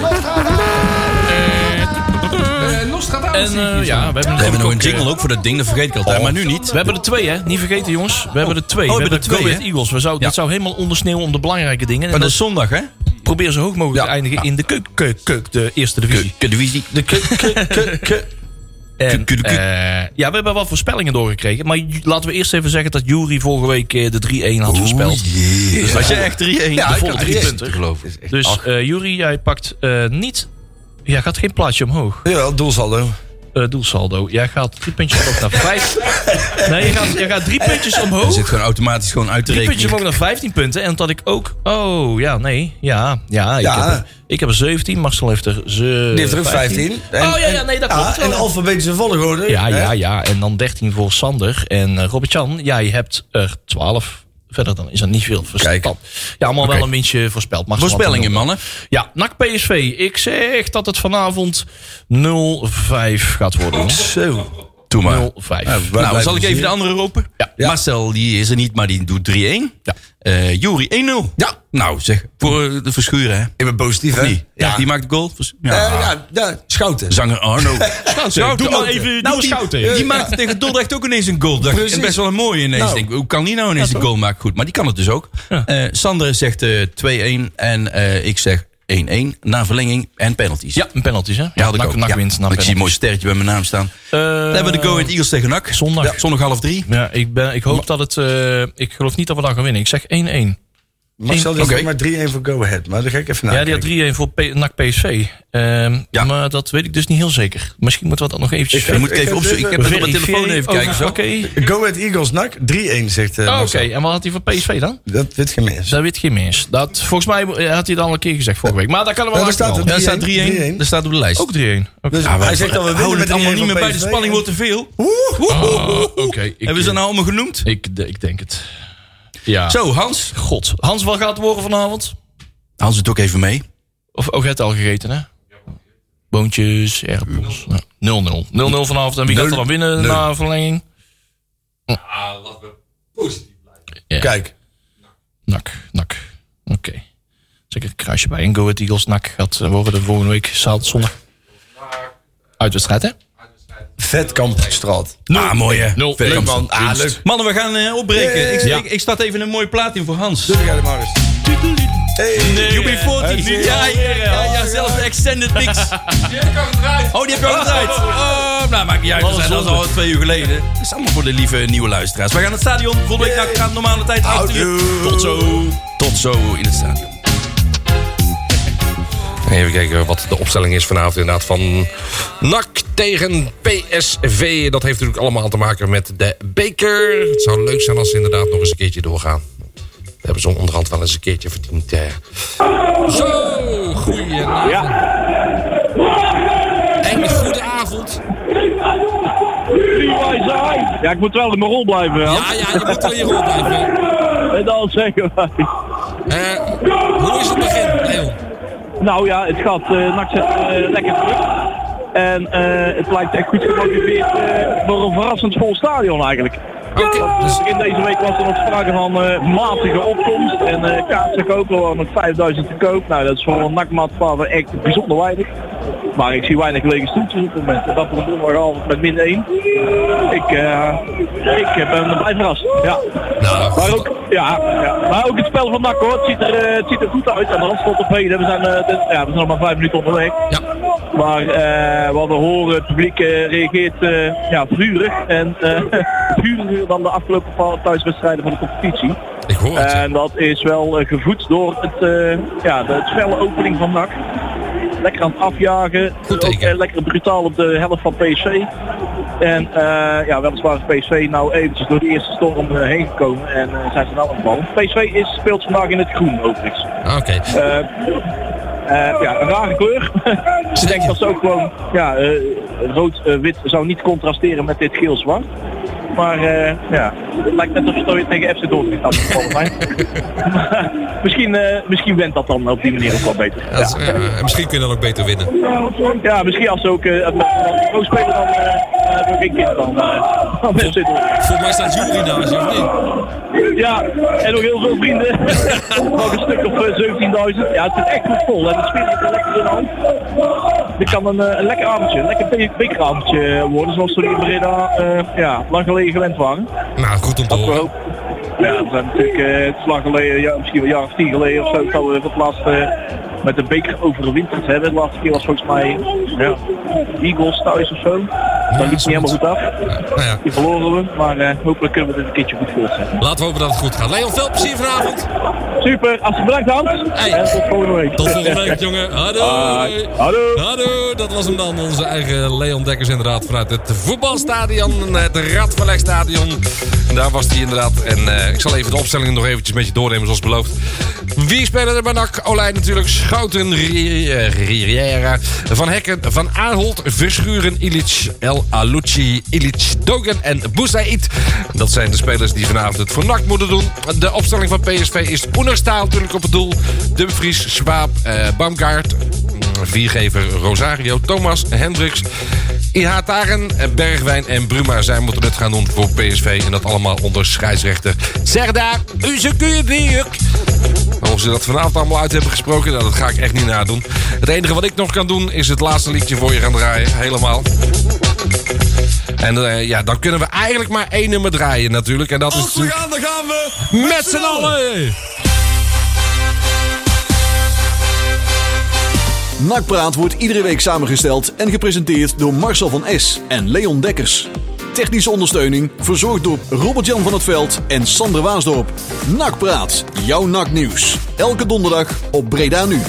S4: En eh, ja, we hebben,
S2: We hebben nog een
S4: ook, eh,
S2: jingle ook voor dat ding, dat vergeet ik altijd. Maar nu niet.
S4: We hebben er twee, hè? Niet vergeten, jongens. We hebben er twee.
S2: Oh, we
S4: we
S2: hebben
S4: hebben
S2: er
S4: de
S2: twee,
S4: Go Ahead
S2: hè?
S4: Eagles. We zou, Dat zou helemaal ondersneeuwen om de belangrijke dingen. En
S2: Maar dat
S4: dat
S2: is zondag, hè?
S4: probeer zo hoog mogelijk te eindigen in de keuk, keuk, keuk, de eerste divisie.
S2: Kudwisie.
S4: De keuk, keuk, keuk, keuk. En,
S2: Keuk, keuk, keuk.
S4: eh, ja, we hebben wel voorspellingen doorgekregen. Maar j- laten we eerst even zeggen dat Jury vorige week eh, de 3-1 had voorspeld.
S2: Dus als je echt 3-1...
S4: de
S2: Ja,
S4: volle drie punten.
S2: geloof ik.
S4: Dus eh Jury, jij pakt eh, niet... Jij gaat geen plaatje omhoog.
S3: Jawel, doelsaldo.
S4: Eh, doelsaldo. Jij gaat drie puntjes omhoog naar vijf. Nee, jij gaat, jij gaat drie puntjes
S2: Er
S4: omhoog.
S2: zit gewoon automatisch gewoon uit te
S4: Drie puntjes
S2: rekenen.
S4: omhoog naar 15 punten. En dat ik ook. Oh ja, nee. Ja, ja. Ik,
S3: Ja.
S4: Heb, er, ik heb er 17. Marcel heeft er. Ze,
S3: Die heeft er ook 15. En-
S4: oh ja, ja, nee, dat
S3: Ja,
S4: klopt. wel,
S3: in
S4: ja.
S3: alfabetische volgorde.
S4: ja,
S3: hè?
S4: ja, ja. En dan 13 voor Sander. En eh Robert-Jan, jij hebt er 12. Verder dan is er niet veel verstand.
S2: Kijk.
S4: Ja, allemaal
S2: Oké.
S4: wel een beetje voorspeld. Marcel had er
S2: Voorspellingen,
S4: nul.
S2: mannen.
S4: Ja, NAC PSV. Ik zeg dat het vanavond 0-5 gaat worden. jongens.
S3: Zo.
S2: Doe maar.
S4: 0-5.
S2: nou,
S3: blijven
S2: zal ik even
S3: zien.
S2: de andere roepen? Marcel, die is er niet, maar die doet 3-1.
S4: Ja.
S2: Eh, Jury 1-0.
S3: Ja.
S2: Nou, zeg, voor eh, de verschuren, hè?
S3: Ik ben positief, hè?
S2: Die, ja. die maakt de goal. Vers- Ja.
S3: Eh,
S4: Ah.
S3: ja, ja, Schouten.
S2: Zanger Arno.
S4: Schouten, doe maar even- doe maar
S2: die,
S4: Schouten.
S2: Die
S4: Ja.
S2: maakte tegen Dordrecht ook ineens een goal. Dacht, ik. en
S3: Precies.
S2: best wel een mooie ineens.
S3: Nou.
S2: Denk, ik, hoe kan die nou ineens een goal maken? Goed, maar die kan het dus ook. Eh, Sander zegt eh, 2-1 en eh, ik zeg 1-1 na verlenging en penalties.
S4: Ja, een penalties, hè? Ja,
S2: had ik
S4: NAC,
S2: ook.
S4: NAC
S2: Ja.
S4: wint. na
S2: ik zie een
S4: penalties.
S2: mooi sterretje bij mijn naam staan.
S4: Eh,
S2: Dan hebben we de Go Ahead Eagles tegen NAC.
S4: zondag.
S2: Ja, zondag half drie.
S4: Ja, ik, ben, ik hoop dat het... eh, ik geloof niet dat we daar gaan winnen. Ik zeg 1-1.
S3: Marcel die
S2: Oké.
S3: heeft maar 3-1 voor Go Ahead. Maar dat ga ik even
S4: ja,
S3: nakijken.
S4: die had 3-1 voor P NAC PSV. Ehm,
S2: Ja.
S4: Maar dat weet ik dus niet heel zeker. Misschien moeten we dat nog eventjes...
S2: Je moet ik
S3: ik
S2: even
S3: heb
S2: opzoeken. Ik
S3: even-
S2: heb eh, het op mijn telefoon even kijken.
S4: Oh, Oké.
S2: Zo.
S3: Go Ahead Eagles NAC 3-1 zegt eh
S4: Oh, Oké,
S3: Marcel.
S4: en wat had hij voor PSV dan?
S3: Dat weet geen meer.
S4: Dat weet geen mens. Dat, volgens mij eh, had hij dat al een keer gezegd vorige week. Maar daar kan er wel
S3: Ja, daar
S4: aan
S3: staat
S4: komen.
S2: Daar staat 3-1.
S3: 3-1.
S2: Daar staat op de lijst. Ah,
S4: Ook 3-1. Oké.
S3: Dus hij zegt dat we
S2: houden het
S3: winnen met
S2: allemaal
S3: 3-1
S2: niet
S3: van
S2: meer bij. De
S3: PSV.
S2: spanning wordt te veel.
S3: Oeh, oeh.
S4: Ah, oké, ik,
S2: Hebben ze
S4: eh,
S2: nou allemaal genoemd?
S4: ik, de- ik denk het. Ja.
S2: Zo, Hans.
S4: God. Hans, wat gaat het worden vanavond?
S2: Hans doet ook even mee.
S4: Of ook het al gegeten, hè? Boontjes, erpels. Ja. 0-0. 0-0 vanavond. En wie gaat er dan winnen na verlenging?
S3: Kijk.
S4: Nak, nak. Oké. Zeker een kruisje bij. En Go Ahead Eagles nak gaat eh, worden de volgende week zaterdag zondag. Uitwedstrijd, hè?
S3: Vetkampstraat.
S2: Ah, mooi hè.
S4: Nul.
S2: Leuk,
S4: Leuk,
S2: man.
S3: Ah, leuk.
S2: Mannen, we gaan eh, opbreken.
S3: Yeah.
S2: Ik, ik, ik start even een mooie plaat in voor Hans.
S3: Doe jij de maar eens. Hey.
S2: UB40.
S3: hè.
S2: Ja, hier, ja, ja, zelfs de extended mix. Oh, die heb ik al gedraaid. Oh, nou, maakt niet uit. We zijn dat is al twee uur geleden. Dat is allemaal voor de lieve nieuwe luisteraars. Wij gaan naar het stadion. Volgende week gaat het normale tijd achter uur. Tot zo. Tot zo in het stadion.
S1: Even kijken wat de opstelling is vanavond inderdaad van NAC tegen PSV. Dat heeft natuurlijk allemaal te maken met de beker. Het zou leuk zijn als ze inderdaad nog eens een keertje doorgaan. We hebben zo'n onderhand wel eens een keertje verdiend. eh. Zo, goedenavond. En goedenavond.
S8: Ja, ik moet wel in mijn rol blijven. Ja.
S1: Ja, ja, je moet wel je rol blijven.
S8: En dan zeggen wij.
S1: Eh, hoe is het begin, Leon?
S8: Nou ja, het gaat eh NAC zet, eh, lekker terug. En eh, het lijkt echt goed gemotiveerd eh, voor een verrassend vol stadion eigenlijk.
S1: Oké, dus-
S8: In deze week was er nog sprake van eh, matige opkomst. En eh kaarten kopen waren met 5000 te koop. Nou, dat is voor een nakmaatvader echt bijzonder weinig. Maar ik zie weinig lege stoeltjes op het moment. En Dat voor morgenavond met min 1. Ik, eh, ik ben blij verrast. Ja. Maar ook, ja, ja. maar ook het spel van NAC hoor. Het ziet er, eh, het ziet er goed uit. Aan de randstond op heden. We zijn, eh, dit- ja, we zijn nog maar vijf minuten onderweg.
S1: Ja.
S8: Maar eh, wat we horen, het publiek eh, reageert eh, ja, vurig. En eh, vuriger dan de afgelopen paar thuiswedstrijden van de competitie.
S1: Ik hoor het.
S8: En dat is wel eh, gevoed door het, eh, ja, de het felle opening van NAC. Lekker aan het afjagen.
S1: Goed
S8: Ook,
S1: teken.
S8: eh, lekker brutaal op de helft van PSV. En eh, ja, weliswaar is PSV nou eventjes door de eerste storm eh, heen gekomen. En eh, zijn ze nou aan het ballen. PSV is, speelt vandaag in het groen overigens.
S1: Ah, Oké.
S8: Eh, eh, ja, een rare kleur. Ik denk dat ze ook gewoon ja, rood-wit zou niet contrasteren met dit geel-zwart. Maar eh, ja, het lijkt net alsof het ooit tegen FC Dordrecht had gevallen zijn. Maar misschien, eh, misschien went dat dan op die manier ook wel beter.
S1: Dat is, eh, misschien kunnen we dan ook beter winnen.
S8: Ja, misschien als ze ook eh, met een pro spelen dan eh eh, door Rick Kind dan, eh, dan FC Dordrecht.
S2: Volgens mij staat Jury daar, zeg of niet?
S8: Ja, en nog heel veel vrienden. nog een stuk of eh, 17.000. Ja, het is echt goed vol. En het speelt ook lekker in de hand. Dit kan een, eh, een lekker avondje, een lekker be- bekeravondje worden. Zoals we in Breda eh, ja, lang geleden gewend waren.
S1: Nou, goed om te
S8: We
S1: horen.
S8: hopen. Ja, we zijn natuurlijk eh, het is lang geleden, ja, misschien wel een jaar of tien geleden of zo, dat we voor het laatst eh, met de beker overwinterd hebben. De laatste keer was volgens mij ja, Eagles thuis of zo. Dat liep niet helemaal goed af.
S1: Nou ja,
S8: Die verloren we, maar eh, hopelijk kunnen we dit een keertje goed voortzetten.
S1: laten we hopen dat het goed gaat. Leon, veel plezier vanavond.
S8: Super, als bedankt Hans.
S1: Hey.
S8: En tot volgende week.
S1: Tot volgende week, jongen. Hoi.
S8: Hallo.
S1: Hallo, dat was hem dan. Onze eigen Leon Dekkers inderdaad vanuit het voetbalstadion. eh, Het Radverlegstadion. En daar was hij inderdaad. En eh, ik zal even de opstellingen nog eventjes met je doornemen zoals beloofd. Wie spelen er bij NAC? Olij natuurlijk. Schouten, Ri- eh, Riera. Van Hekken, Van Aanholt, Verschuren, Ilic, El Alucci, Ilic, Dogen en Boussaïd. Dat zijn de spelers die vanavond het voor NAC moeten doen. De opstelling van PSV is Oenerstaal natuurlijk op het doel. Dumfries, Swaap, eh Baumgaard, Viergever Rosario, Thomas, Hendricks, IH Taren, Bergwijn en Bruma. Zij moeten het gaan doen voor PSV. En dat allemaal onder scheidsrechter Serda Uzekuyebiuk. Of ze dat vanavond allemaal uit hebben gesproken, nou, dat ga ik echt niet nadoen. Het enige wat ik nog kan doen is het laatste liedje voor je gaan draaien. Helemaal. En eh, ja, dan kunnen we eigenlijk maar één nummer draaien natuurlijk. En dat is natuurlijk
S2: gaan, dan gaan we.
S1: met z'n allen!
S6: Nakpraat wordt iedere week samengesteld en gepresenteerd door Marcel van S en Leon Dekkers. Technische ondersteuning verzorgd door Robert-Jan van het Veld en Sander Waasdorp. Nakpraat, jouw naknieuws. Elke donderdag op Breda Nu.